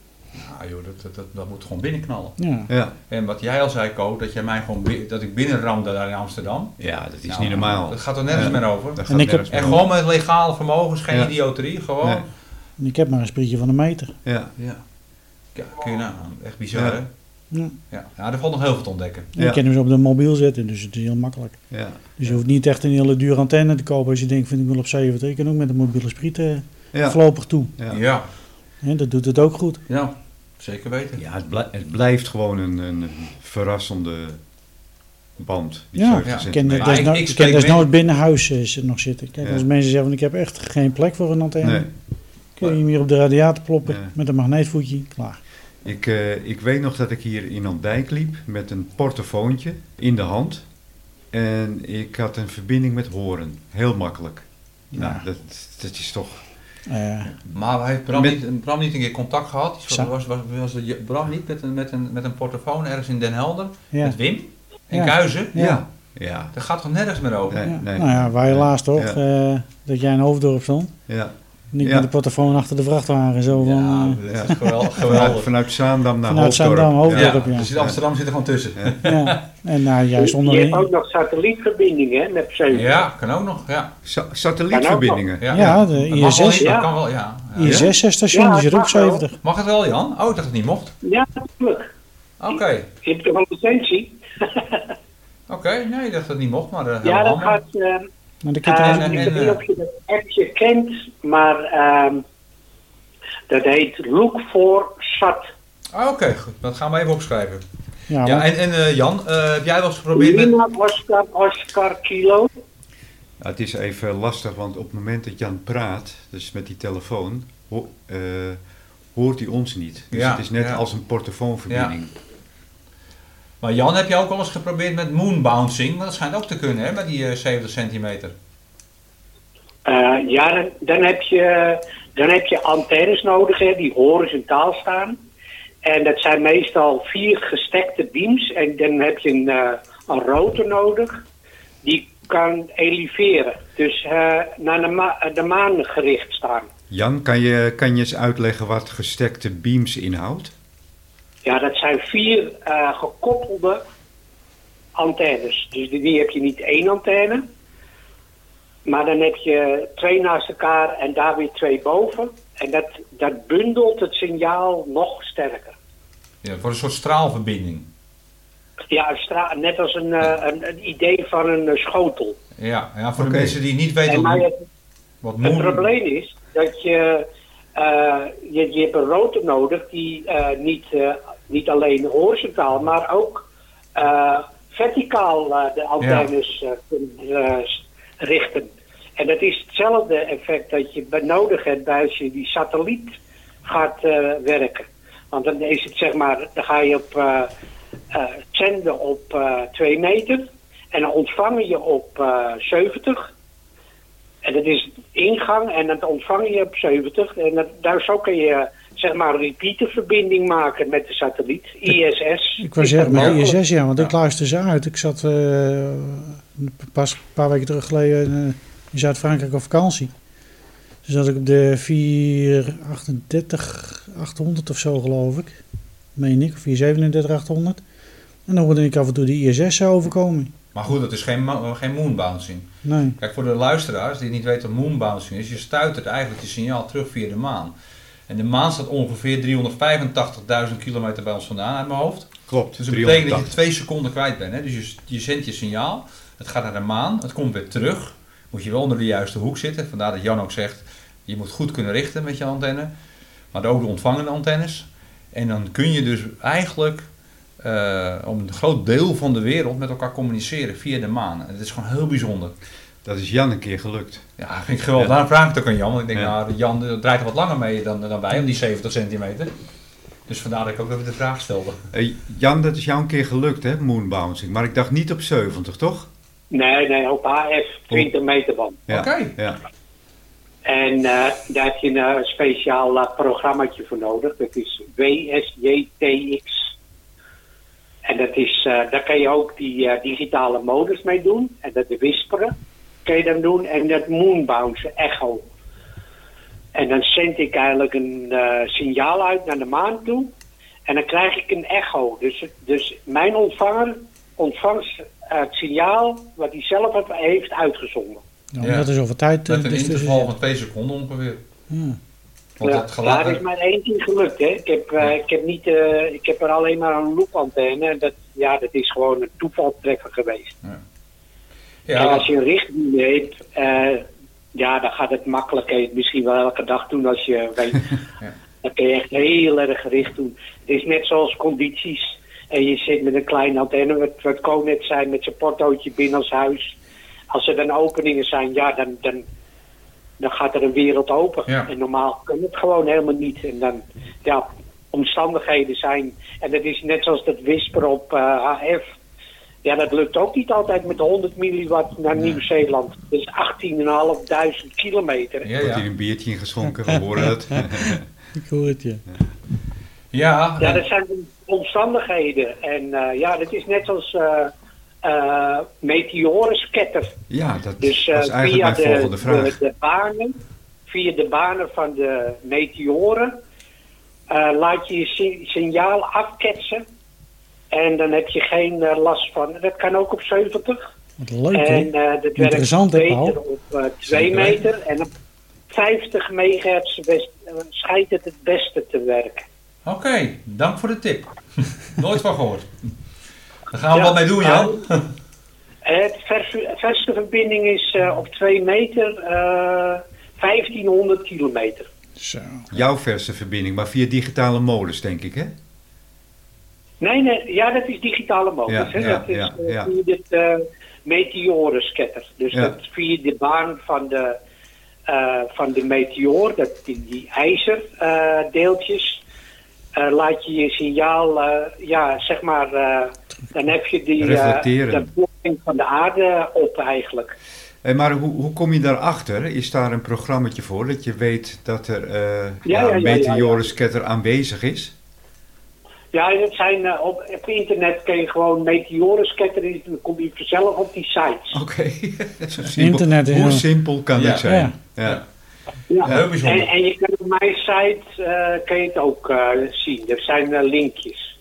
C: nou joh, dat, dat, dat, dat moet gewoon binnenknallen.
A: ja.
B: Ja.
C: En wat jij al zei, Ko, dat, jij mij gewoon, bi- dat ik binnenramde daar in Amsterdam.
B: ja, dat is
C: Nou,
B: niet normaal.
C: Dat gaat er nergens
B: Ja.
C: meer over.
B: Dat gaat
A: En ik heb-
B: nergens meer
C: En
B: over.
C: gewoon met legale vermogens, geen
B: Ja.
C: idioterie, gewoon.
B: Nee.
A: En ik heb maar een sprietje van een meter.
B: Ja,
C: Ja. ja, kun je nagaan. Echt bizar,
B: Ja.
C: hè?
A: Ja.
C: Ja. ja, er valt nog heel veel te ontdekken.
A: En Je
B: Ja.
A: kan hem zo op de mobiel zetten, dus het is heel makkelijk.
B: Ja.
A: Dus je hoeft niet echt een hele dure antenne te kopen als je denkt van ik wil op 70. Je kan ook met een mobiele spriet eh,
B: Ja.
A: voorlopig toe.
B: Ja.
C: Ja,
A: Hè, dat doet het ook goed.
C: ja zeker weten.
B: Ja, het, blij- het blijft gewoon een, een verrassende band. Die
A: Ja,
B: 70
C: ja.
A: Ik ken
B: centimeter.
C: Maar ik-
A: desnood-
C: ik
A: ik
C: spreek
A: ken desnoods
C: men-
A: binnenhuis eh, zit- nog zitten. Kijk,
B: Ja.
A: als mensen zeggen van ik heb echt geen plek voor een antenne.
B: Nee.
A: Kun je hem hier op de radiator ploppen
B: Ja.
A: met een magneetvoetje, klaar.
B: Ik, eh, ik weet nog dat ik hier in Andijk liep met een portefoontje in de hand. En ik had een verbinding met horen. Heel makkelijk.
A: Ja.
B: Nou, dat, dat is toch...
A: Eh,
C: Maar heeft Bram,
B: Met-
C: niet, Bram niet een keer contact gehad? Die
A: Sa-
C: soort- Was, was, was, Bram niet met een, met, een, met een portofoon ergens in Den Helder?
A: ja.
C: Met Wim? En
A: Ja.
C: Kuizen?
A: Ja.
B: Ja. Ja.
C: Daar gaat toch nergens meer over?
B: Nee,
A: Ja.
B: nee.
A: Nou ja, waar helaas toch,
B: Ja.
A: eh, dat jij in Hoofddorp stond.
B: ja.
A: En ik
B: Ja.
A: met de portofoon achter de vrachtwagen. Zo van, eh,
C: Ja,
B: Ja.
C: dat is geweldig.
B: Vanuit,
C: geweldig.
B: vanuit Zaandam naar
A: Vanuit
B: Hoofddorp.
A: Zaandam, Hoofddorp.
B: Ja.
C: Ja,
A: ja.
C: precies. Amsterdam zit er gewoon tussen.
A: eh, ja. En nou, juist
D: Je hebt ook
A: onderin.
D: nog satellietverbinding, hè, met Zeven.
C: Ja, kan ook nog. Ja,
B: Sa- Satellietverbindingen.
C: ja.
A: Ja, de
C: Dat mag wel,
A: ISS.
C: niet, dat
D: Ja.
C: kan wel, ja. Ja.
A: ISS-station,
D: Ja,
A: die zit
D: dat
A: ook
D: mag wel.
A: 70.
C: Mag het wel, Jan? Oh, ik dacht het niet mocht.
D: Ja, natuurlijk.
C: Oké,
D: Je hebt toch een licentie?
C: oké. Nee, ik dacht dat het niet mocht, maar eh,
D: Ja,
C: helemaal.
D: dat gaat... eh,
A: Maar dan kun je
D: Ehm,
A: trouwens-
C: en,
D: ik weet
C: eh,
D: niet of je dat appje kent, maar ehm, dat heet Look for Sat.
C: Ah, Oké, goed. Dat gaan we even opschrijven.
A: ja,
C: Ja,
A: want-
C: en, en eh, Jan, eh, heb jij wel eens geprobeerd met...
D: Lima Oscar Oscar Kilo.
B: Ja, het is even lastig, want op het moment dat Jan praat, dus met die telefoon, ho- eh, hoort hij ons niet. Dus
C: Ja,
B: het is net
C: ja.
B: als een portofoonverbinding.
C: Maar Jan, heb je ook wel eens geprobeerd met moonbouncing? Want dat schijnt ook te kunnen, hè, met die eh, 70 centimeter.
D: Eh, ja, dan, dan, heb je, dan heb je antennes nodig hè, die horizontaal staan. En dat zijn meestal vier gestekte beams. En dan heb je een, eh, een rotor nodig die kan eleveren. Dus eh, naar de, ma- de maan gericht staan.
B: Jan, kan je, kan je eens uitleggen wat gestekte beams inhoudt?
D: Ja, dat zijn vier eh, gekoppelde antennes. Dus die, die heb je niet één antenne. Maar dan heb je twee naast elkaar en daar weer twee boven. En dat, dat bundelt het signaal nog sterker.
C: Ja, voor een soort straalverbinding.
D: Ja, een stra- net als een, eh, een, een idee van een eh, schotel.
C: Ja, ja voor
B: Oké.
C: de mensen die niet weten
D: En
C: wat,
D: maar
C: moon-
D: het,
C: wat
D: het
C: moon...
D: probleem is dat je, eh, je, je hebt een rotor nodig die eh, niet, eh, niet alleen horizontaal, maar ook eh, verticaal eh, de antennes eh, kunt eh, s- richten. En dat is hetzelfde effect dat je be- nodig hebt bij als je die satelliet gaat eh, werken. Want dan is het zeg maar, dan ga je op eh, eh, zenden op eh 2 meter en dan ontvang je op eh 70. En dat is ingang en dat ontvang je op 70. En dat, daar zo kun je zeg maar een repeaterverbinding maken met de satelliet. ISS.
A: Ik wou
D: Is
A: zeggen,
D: dat
A: met
D: mogelijk?
A: ISS, ja, want ik luister ze uit. Ik zat eh, pas een paar weken terug geleden eh, in Zuid-Frankrijk op vakantie. Toen zat ik op de 438 800 of zo, geloof ik. Meen ik, 437 800. En dan hoorde ik af en toe de ISS zou overkomen.
C: Maar goed, dat is geen, ma- geen moonbouncing.
A: Nee,
C: Kijk, voor de luisteraars die niet weten wat moonbouncing is, je stuitert eigenlijk je signaal terug via de maan. En de maan staat ongeveer 385.000 kilometer bij ons vandaan uit mijn hoofd.
B: Klopt,
C: Dus dat betekent dat je
B: 380.
C: twee seconden kwijt bent. Hè? Dus je, je zendt je signaal, het gaat naar de maan, het komt weer terug. Moet je wel onder de juiste hoek zitten. Vandaar dat Jan ook zegt, je moet goed kunnen richten met je antenne. Maar ook de ontvangende antennes. En dan kun je dus eigenlijk eh, om een groot deel van de wereld met elkaar communiceren via de maan. En dat is gewoon heel bijzonder.
B: Dat is Jan een keer gelukt.
C: Ja, vind ik geweldig.
B: Ja.
C: Daarom vraag ik het ook aan Jan. Want ik denk,
B: Ja.
C: nou, Jan eh, draait er wat langer mee dan, dan wij, om die 70 centimeter. Dus vandaar dat ik ook even de vraag stelde.
B: Eh, Jan, dat is jou een keer gelukt, hè, moonbouncing. Maar ik dacht niet op 70, toch?
D: Nee, nee, op HF, 20
A: Oh.
D: meter band.
B: Ja.
C: Oké.
B: Ja.
D: En eh, daar heb je een eh, speciaal eh, programmaatje voor nodig. Dat is WSJTX. En dat is, eh, daar kan je ook die eh, digitale modus mee doen. En dat wisperen kan je dan doen. En dat moonbounce echo. En dan zend ik eigenlijk een eh, signaal uit naar de maan toe. En dan krijg ik een echo. Dus, dus mijn ontvanger ontvangt eh, het signaal wat hij zelf heeft- heeft uitgezonden.
A: ja,
C: Ja.
A: dat is over tijd. eh,
C: Met een
A: dus tussen
C: interval Hmm.
A: zit.
C: van 2 seconden ongeveer.
A: Ja.
C: Want
D: ja,
C: dat geluid...
D: daar is maar één ding gelukt, hè. Ik heb, eh, ik heb, niet, eh, ik heb er alleen maar een loopantenne. En dat, ja, dat is gewoon een toevaltreffer geweest. En
C: ja,
D: als je een richting hebt, eh, ja, dan gaat het makkelijk. Kun je het misschien wel elke dag doen als je weet.
C: Ja.
D: Dan kun je echt heel erg gericht doen. Het is net zoals condities. En je zit met een kleine antenne, wat, wat Ko net zei, met zijn portootje binnen als huis. Als er dan openingen zijn, ja, dan, dan, dan gaat er een wereld open.
C: Ja.
D: En normaal kan het gewoon helemaal niet. En dan, ja, omstandigheden zijn. En dat is net zoals dat whisper op eh, AF. Ja, dat lukt ook niet altijd met 100 milliwatt naar Nieuw-Zeeland. Dat is 18.500 kilometer.
C: ja,
B: Wordt
C: ja.
B: hier een biertje in geschonken, we horen het.
A: Ik hoor het, ja.
C: Ja,
D: Ja, dat zijn omstandigheden. En eh, ja, dat is net als eh eh, meteorensketter.
B: Ja, dat
D: Dus eh,
B: was eigenlijk
D: via
B: mijn volgende
D: de,
B: vraag.
D: de, de banen, via de banen van de meteoren, eh, laat je je si- signaal afketsen. En dan heb je geen eh, last van. Dat kan ook op 70.
A: Wat leuk, hè?
D: en eh dat
A: Interessant, hè,
D: werkt beter
A: Paul?
D: op 2
C: Zeker.
D: meter. En op 50 megahertz best- eh, schijnt het het beste te werken.
C: Oké, dank voor de tip. Nooit van gehoord. Daar gaan we
D: Ja,
C: wat mee doen,
D: nou,
C: Jan.
D: Eh, Het vers, verste verbinding is eh, op 2 meter eh 1500 kilometer.
A: Zo.
B: Jouw verse verbinding, maar via digitale molens, denk ik, hè?
D: Nee, nee, ja, dat is digitale molens.
B: Ja,
D: hè.
B: ja,
D: dat is
B: ja,
D: eh,
B: ja.
D: via dit eh meteorensketter. Dus
B: Ja.
D: dat via de baan van de, eh, van de meteoor, dat, die, die ijzerdeeltjes, deeltjes eh, laat je je signaal, eh, ja, zeg maar, eh, dan heb je die eh,
B: Reflecteren.
D: de boring van de aarde op eigenlijk.
B: Hé, maar hoe, hoe kom je daarachter? Is daar een programmaatje voor dat je weet dat er eh
D: ja,
B: ja,
D: ja,
B: een
D: ja, ja.
B: meteorensketter aanwezig is?
D: Ja, en dat zijn, eh, op, op internet kun je gewoon meteorensketter, in- dan kom je vanzelf op die sites.
B: Oké, Zo simpel.
A: Internet is
B: Hoe
A: een-
B: simpel kan
C: Ja.
B: dat zijn? Ja.
C: Ja.
D: Ja.
C: Heel
D: En,
C: bijzonder.
D: en je kunt op mijn site eh, kan je het ook eh, zien. Er zijn eh, linkjes.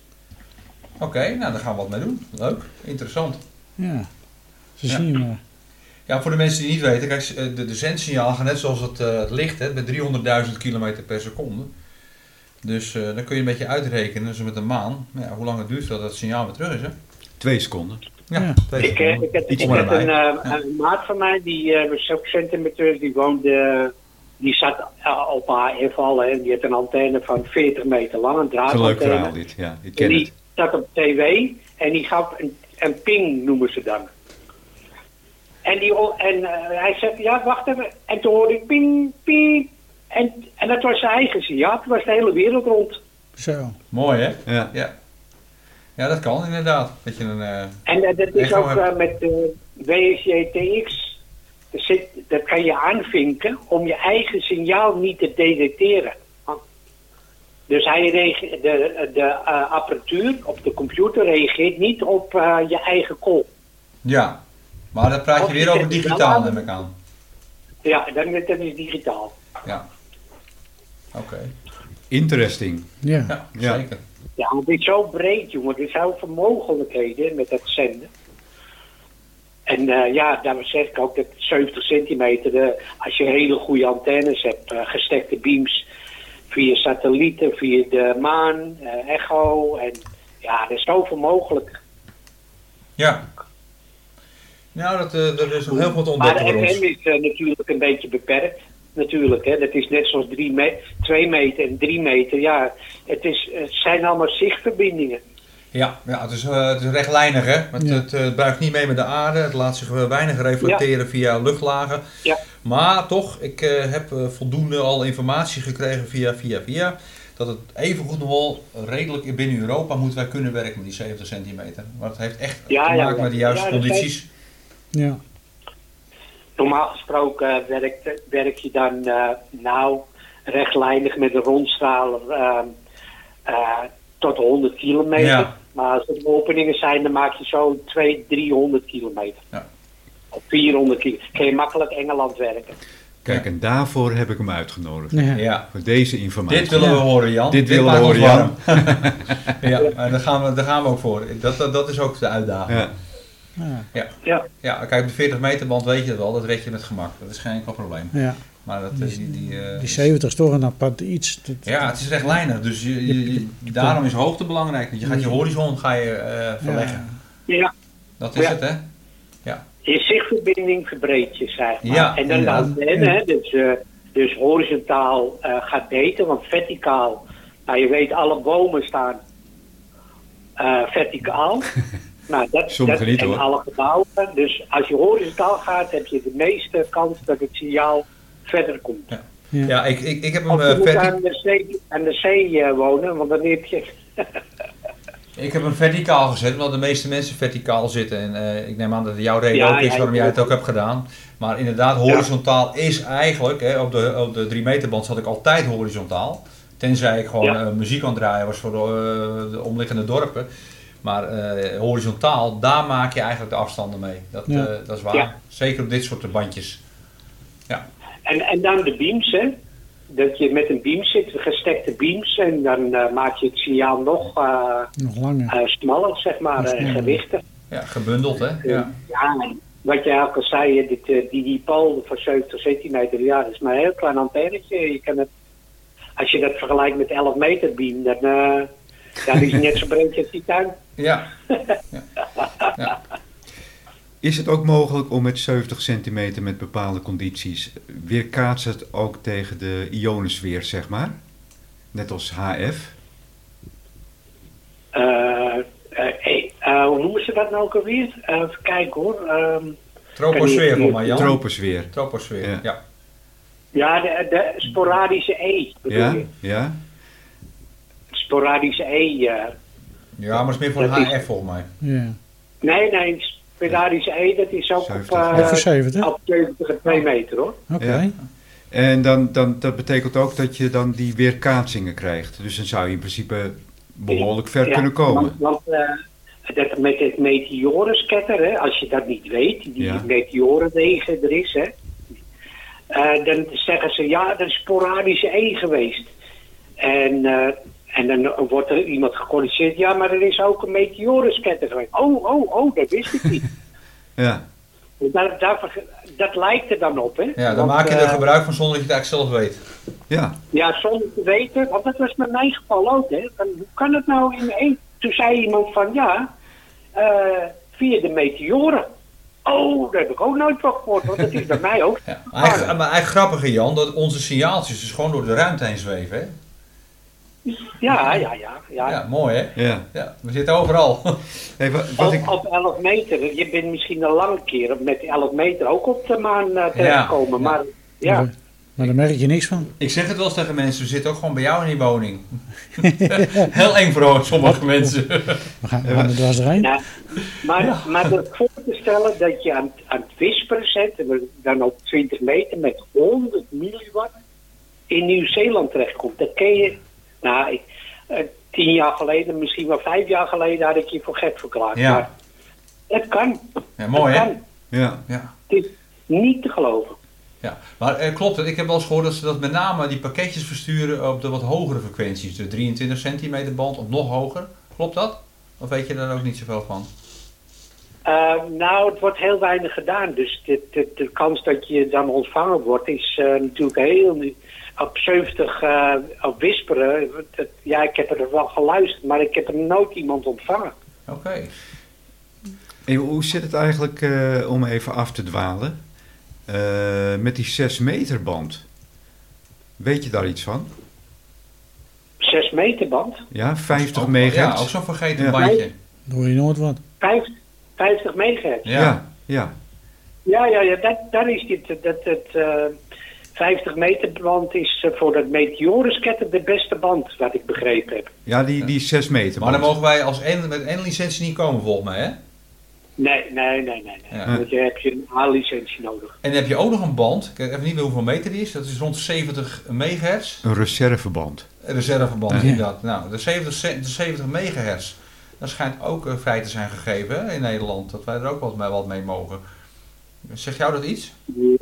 C: Oké, nou daar gaan we wat mee doen. Leuk, interessant.
A: Ja. Ze
C: Ja.
A: zien je maar.
C: Ja, voor de mensen die niet weten, kijk, eh, de, de zendsignaal gaat net zoals het, eh, het licht, hè, met 300.000 km per seconde. Dus eh, dan kun je een beetje uitrekenen, zo met een maan, ja, hoe lang het duurt voordat dat signaal weer terug is, hè?
B: Twee seconden.
A: Ja.
C: twee
D: Ik, eh,
C: seconden.
D: ik heb,
C: Iets
D: ik
C: maar
D: heb
C: erbij.
D: een, eh, een maat van mij, die eh was ook centimeter, die woonde, eh, die zat eh, op AF al en die had een antenne van 40 meter lang, een
B: Dat is een leuk verhaal
D: draadantenne.
B: dit, ja, ik
D: En
B: ken
D: Ah, die
B: het.
D: zat op tv en die gaf een, een ping, noemen ze dan. En, die, o- en eh, hij zegt, ja, wacht even. En toen hoorde ik ping, ping. En, en dat was zijn eigen signaal. Toen was de hele wereld rond.
A: Zo.
C: Mooi, hè?
B: Ja.
C: Ja. ja, dat kan inderdaad. Dat je een, eh,
D: En eh, dat is
C: Echt
D: ook
C: waar.
D: eh, met eh WSJTX. Er zit, dat kan je aanvinken om je eigen signaal niet te detecteren. Dus hij reage- de, de eh, apparatuur op de computer reageert niet op eh, je eigen call.
C: ja. Maar dan praat
D: Of
C: je
D: je
C: weer over
D: zet die
C: digitaal,
D: wel aan.
C: neem ik aan.
D: Ja, dan, dat is digitaal.
C: Ja. Oké.
B: Interesting.
A: Ja.
C: Ja,
B: Ja.
C: zeker.
D: Ja, het is zo breed, jongen. Er zijn zoveel mogelijkheden met dat zenden. En eh, ja, daarom zeg ik ook dat 70 centimeter, eh, als je hele goede antennes hebt, eh, gestekte beams via satellieten, via de maan, eh, echo. En ja, er is zoveel mogelijk.
C: Ja. Nou, dat, eh, er is nog heel veel te
D: Maar
C: ontdekken
D: de
C: voor ons.
D: FM is eh, natuurlijk een beetje beperkt. Natuurlijk, hè. dat is net zoals 2 me twee meter en 3 meter. Ja, het, is, het zijn allemaal zichtverbindingen.
C: Ja, ja het, is, eh, het is rechtlijnig hè. Het,
A: Ja.
C: het, eh, buigt niet mee met de aarde. Het laat zich eh, weinig reflecteren via luchtlagen.
D: Ja.
C: Maar toch, ik eh, heb eh, voldoende al informatie gekregen via via via. Dat het evengoed nog wel redelijk binnen Europa moeten wij kunnen werken met die 70 centimeter. Maar het heeft echt
D: Ja,
C: te
D: ja,
C: maken
D: ja.
C: met de juiste
D: Ja, dat
C: condities.
A: Ja.
D: Normaal gesproken eh, werkt, werk je dan eh, nou rechtlijnig met een rondstraler eh, eh, tot 100 kilometer.
C: Ja.
D: Maar als er openingen zijn, dan maak je zo'n 200, 300 kilometer.
C: Ja.
D: Of 400 kilometer. Kun je makkelijk Engeland werken.
B: Kijk, en daarvoor heb ik hem uitgenodigd.
A: Ja.
C: Ja.
B: Voor deze informatie.
C: Dit willen we horen, Jan.
B: Dit willen we
C: maakt ons
B: horen, Jan.
C: warm. ja, maar daar gaan, we, daar gaan we ook voor. Dat, dat, dat is ook de uitdaging.
B: Ja.
A: Ja.
D: Ja.
C: Ja, kijk, op de 40 meter band weet je dat wel, dat red je met gemak. Dat is geen enkel probleem.
A: ja.
C: Maar dat, eh, die, die, eh,
A: Die 70 is toch een apart iets. Dat-
C: Ja, het is rechtlijnig. Dus je, je- je- daarom is hoogte belangrijk. Want je gaat je horizon ga je, eh, verleggen.
D: Ja,
C: Dat is
D: Ja.
C: het, hè?
D: je zichtverbinding verbreedt je, zeg maar.
C: Ja,
D: en dan
C: ja.
D: laat men, hè, dus, eh, dus horizontaal eh, gaat beter, want verticaal, nou je weet, alle bomen staan eh, verticaal. nou, dat,
B: Sommige
D: dat,
B: niet,
D: en
B: hoor.
D: alle gebouwen. Dus als je horizontaal gaat, heb je de meeste kans dat het signaal verder komt.
A: Ja.
C: Ja, ik, ik, ik heb hem
D: Of je
C: eh,
D: moet
C: verti-
D: aan de zee, aan de zee eh, wonen, want dan heb je...
C: ik heb hem verticaal gezet, omdat de meeste mensen verticaal zitten. En eh, ik neem aan dat het jouw reden
D: Ja,
C: ook is
D: ja,
C: waarom jij het
D: ja.
C: ook hebt gedaan. Maar inderdaad, horizontaal is eigenlijk, hè, op de, op de 3 meter band zat ik altijd horizontaal. Tenzij ik gewoon
D: Ja.
C: eh, muziek aan het draaien was voor de, eh, de omliggende dorpen. Maar eh, horizontaal, daar maak je eigenlijk de afstanden mee. Dat,
A: Ja.
C: eh, dat is waar.
D: Ja.
C: Zeker op dit soort bandjes.
D: En, en dan de beams, hè. Dat je met een beam zit, gestekte beams, en dan eh, maak je het signaal nog eh,
A: Nog langer.
D: eh, smaller, zeg maar,
A: Nog
D: en
A: smaller.
D: gewichtig.
C: Ja, gebundeld, hè? Ja.
D: Ja, en wat jij ook al zei, eh, dit, eh, die, die paal van 70 centimeter, ja, dat is maar een heel klein antennetje. Je kan het, als je dat vergelijkt met 11 meter beam, dan eh, ja, die is net zo breed als die tuin.
C: ja.
B: Is het ook mogelijk om met 70 centimeter met bepaalde condities weerkaatst het ook tegen de ionosfeer, zeg maar? Net als HF.
D: Eh, eh, eh, eh, hoe noemen ze dat nou ook alweer? Eh, even kijken hoor. ehm,
C: Troposfeer voor mij, Jan.
B: Troposfeer.
C: Troposfeer,
B: Ja.
C: ja.
D: ja, de, de sporadische E. bedoel
B: Ja,
D: je?
B: ja.
D: Sporadische E. eh.
C: Ja, maar het is meer voor
D: Dat is-
C: HF volgens mij.
A: Ja.
D: nee, nee, sporadische E, dat is ook op,
B: 70.
D: eh,
A: Ook voor 70? Oké.
D: op 70 en 2 meter hoor.
B: Ja. En dan, dan, dat betekent ook dat je dan die weerkaatsingen krijgt. Dus dan zou je in principe behoorlijk ver
D: Ja,
B: kunnen komen.
D: Want, want eh, dat met het meteorensketter, hè, als je dat niet weet, die
B: Ja.
D: meteorenwegen er is, hè, eh, dan zeggen ze ja, dat is sporadische E geweest. En, eh, en dan wordt er iemand gecorrigeerd, ja, maar er is ook een meteorensketter geweest. Oh, oh, oh, dat wist ik niet.
B: Ja,
D: dat, dat lijkt er dan op, hè?
C: Ja, dan
D: Want,
C: maak je er
D: eh,
C: gebruik van zonder dat je het eigenlijk zelf weet.
B: ja.
D: Ja, zonder te weten, want dat was met mijn geval ook. Hè. Van, hoe kan het nou in één? Toen zei iemand van ja, eh, via de meteoren. Oh, daar heb ik ook nooit van gehoord, want dat is bij mij ook.
C: Ja. Eigen, maar eigenlijk grappiger, Jan, dat onze signaaltjes dus gewoon door de ruimte heen zweven. Hè?
D: Ja, ja, ja. ja.
C: Ja, mooi hè?
B: ja.
C: Ja, we zitten overal.
B: Hey, wa- wat, ik,
D: Op, op 11 meter, je bent misschien een lange keer met 11 meter ook op de maan eh, terechtgekomen.
C: Ja, ja.
D: Maar ja,
A: Maar daar merk je niks van.
C: Ik zeg het wel eens tegen mensen, we zitten ook gewoon bij jou in die woning. Heel eng voor sommige mensen.
A: We gaan, we gaan er dwars doorheen.
D: nou, maar, maar dat voor te stellen dat je aan, aan het wisperen zet, en we dan op 20 meter met 100 milliwatt in Nieuw-Zeeland terechtkomt. Dat ken je, nou, ik, eh, tien jaar geleden, misschien wel vijf jaar geleden, had ik je voor gek verklaard.
C: Ja.
D: Maar het kan.
C: Ja, mooi
D: het
C: hè?
D: kan.
B: ja.
C: Ja.
D: Het is niet te geloven.
C: Ja, maar eh, klopt het. Ik heb wel eens gehoord dat ze dat met name die pakketjes versturen op de wat hogere frequenties. De 23 centimeter band of nog hoger. Klopt dat? Of weet je daar ook niet zoveel van?
D: Eh, nou, het wordt heel weinig gedaan. Dus de, de, de kans dat je dan ontvangen wordt is eh, natuurlijk heel... nu- Op 70 eh, op wisperen, dat- ja, ik heb er wel geluisterd, maar ik heb er nooit iemand ontvangen.
C: Oké.
B: Hey, hoe zit het eigenlijk, eh, om even af te dwalen, eh, met die 6 meter band? Weet je daar iets van?
D: 6 meter band,
B: Ja, 50
C: Ook- Ja, ook
B: megahertz?
C: zo'n vergeten
B: Ja.
C: bandje.
A: Daar hoor je nooit wat.
D: 50, 50 megahertz.
C: Ja.
B: ja. ja.
D: Ja, ja, ja dat, daar is dit. Dat, dat, eh, 50 meter band is eh, voor dat meteorensketter de beste band, wat ik begrepen heb.
B: Ja, die, die 6 meter.
C: Maar dan
B: band.
C: mogen wij als één, met één licentie niet komen, volgens mij, hè?
D: Nee, nee, nee, nee. nee.
C: Ja.
D: Want je hebt je een A-licentie nodig.
C: En dan heb je ook nog een band. Ik weet even niet meer hoeveel meter die is. Dat is rond de 70 megahertz.
B: Een reserveband.
C: Een reserveband,
A: Ja.
C: inderdaad. Nou, de 70, ce- de 70 megahertz. Dat schijnt ook eh, vrij te zijn gegeven hè, in Nederland. Dat wij er ook wat mee, wat mee mogen. Zegt jou dat iets?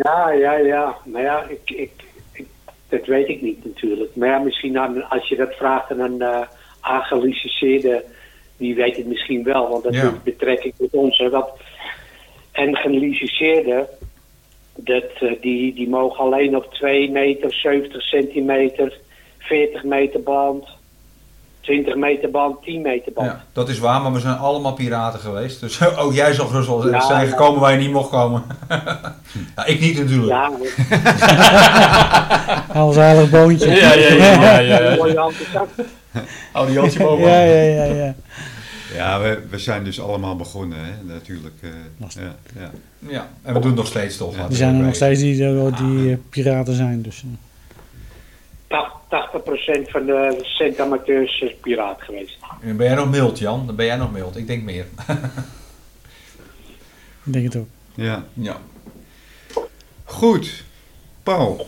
D: Ja, ja, ja. Maar ja, ik, ik, ik- dat weet ik niet natuurlijk. Maar ja, misschien aan, als je dat vraagt aan een eh aangelicenseerde, die weet het misschien wel, want dat
C: Ja.
D: is betrekking tot ons. Hè, want, en gelicenseerde, Dat, eh, die, die mogen alleen op 2 meter, 70 centimeter, 40 meter band, 20 meter band, 10 meter band.
C: Ja, dat is waar, maar we zijn allemaal piraten geweest. Dus ook jij zal gerust wel
D: Ja,
C: zijn
D: ja.
C: gekomen waar je niet mocht komen. ja, ik niet natuurlijk.
D: Ja, hoor.
A: Als heilig boontje.
E: Ja, ja, ja, ja, ja.
D: Dan word je altijd zak.
E: Oude Jansje boven.
A: ja, ja, ja, ja.
B: Ja, we, we zijn dus allemaal begonnen, hè, natuurlijk. eh,
A: Lastig.
B: ja, ja.
C: Ja, en we doen het nog steeds toch. laten we
A: Er zijn er
C: erbij.
A: nog steeds die, die, eh, piraten zijn. Dus, eh.
D: Tach- 80% van de centamateurs is piraat geweest.
C: Dan Ben jij nog mild, Jan? Dan ben jij nog mild. Ik denk meer.
A: ik denk het ook.
B: Ja.
C: Ja.
B: Goed. Paul,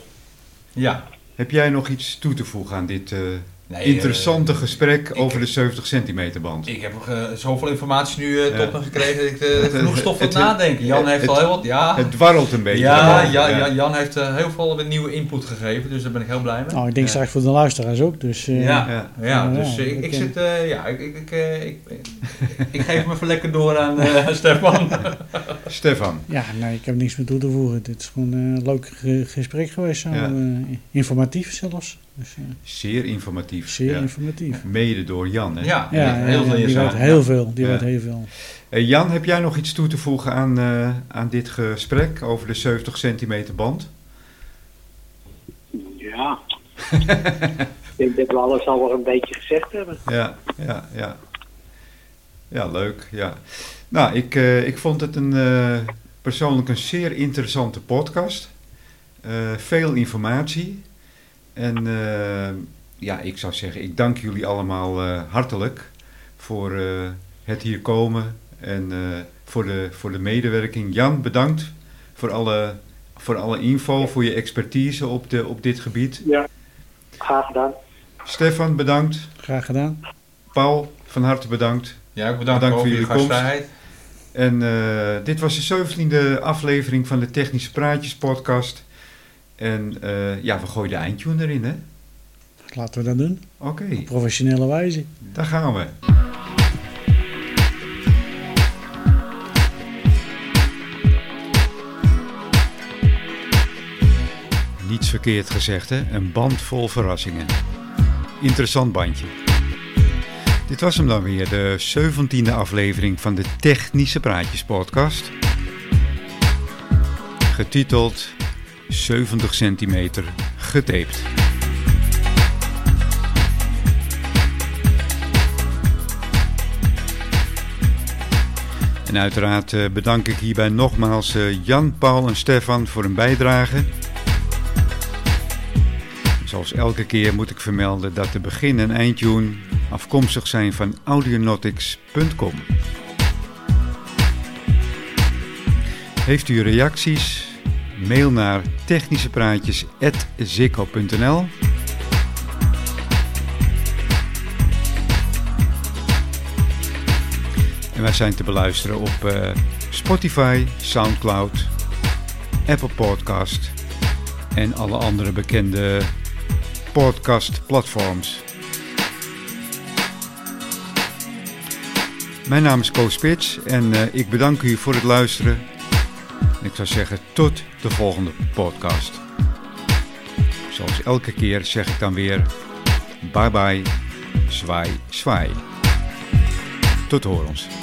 C: Ja.
B: heb jij nog iets toe te voegen aan dit eh,
C: Nee,
B: interessante
C: eh,
B: gesprek
C: ik-
B: over de 70 centimeter band?
C: Ik heb eh, zoveel informatie nu eh,
B: Ja.
C: tot me gekregen dat ik eh, genoeg stof tot
B: Het- het-
C: nadenken. Jan
B: het-
C: heeft al
B: het-
C: heel wat. Ja,
B: Het dwarrelt een beetje.
C: ja,
B: daarboven,
C: ja, ja, Jan heeft eh, heel veel weer nieuwe input gegeven, dus daar ben ik heel blij mee.
A: Nou, ik denk
B: Ja.
A: straks voor de luisteraars ook. Dus, eh,
C: ja,
B: ja.
C: ja.
A: Ja,
C: dus eh, ik,
A: ik
C: ik
A: ken-
C: zit, eh, ja, ik, ik, ik, eh, ik, ik geef me even lekker door aan eh, Stefan.
B: Stefan,
A: Ja, nee, ik heb niks meer toe te voegen. Dit is gewoon eh, een leuk ge- gesprek geweest. Zo,
B: Ja.
A: eh, informatief zelfs. Dus, eh,
B: zeer informatief.
A: zeer
B: ja.
A: informatief.
B: Mede door Jan. Hè?
C: ja,
A: Ja, ja,
C: heel veel
A: die weet
C: inzicht.
A: heel veel. Die
B: Ja.
A: weet heel veel.
B: Eh, Jan, heb jij nog iets toe te voegen aan, eh, aan dit gesprek over de 70 centimeter band?
D: Ja. ik denk dat we alles al wel een beetje gezegd hebben.
B: Ja, ja, ja. Ja, leuk. Ja. Nou, ik, eh, ik vond het een, eh, persoonlijk een zeer interessante podcast. Eh, veel informatie. En eh, ja, ik zou zeggen, ik dank jullie allemaal eh, hartelijk voor eh, het hier komen en eh, voor, de, voor de medewerking. Jan, bedankt voor alle, voor alle info, voor je expertise op, de, op dit gebied.
D: Ja. Graag gedaan.
B: Stefan, bedankt.
A: Graag gedaan.
B: Paul, van harte bedankt.
C: Ja, ook bedankt,
B: Bedankt
C: voor
B: voor
C: jullie
B: jullie komst.
C: gastvrijheid.
B: En eh, dit was de 17e aflevering van de Technische Praatjes podcast. En eh, ja, we gooien de eindtune erin, hè?
A: Laten we dat doen.
B: Oké,
A: Op professionele wijze.
B: daar gaan we. Niets verkeerd gezegd, hè? Een band vol verrassingen. Interessant bandje. Dit was hem dan weer, de 17e aflevering van de Technische Praatjes podcast. Getiteld 70 centimeter getaped. En uiteraard eh, bedank ik hierbij nogmaals eh, Jan, Paul en Stefan voor hun bijdrage. Zoals elke keer moet ik vermelden dat de begin- en eindtune afkomstig zijn van audionautics.com. Heeft u reacties? Mail naar technischepraatjes.zikko.nl En wij zijn te beluisteren op eh, Spotify, Soundcloud, Apple Podcast en alle andere bekende podcastplatforms. Mijn naam is Koos Spits en eh, ik bedank u voor het luisteren. En ik zou zeggen tot de volgende podcast. Zoals elke keer zeg ik dan weer bye bye, zwaai, zwaai. Tot horens.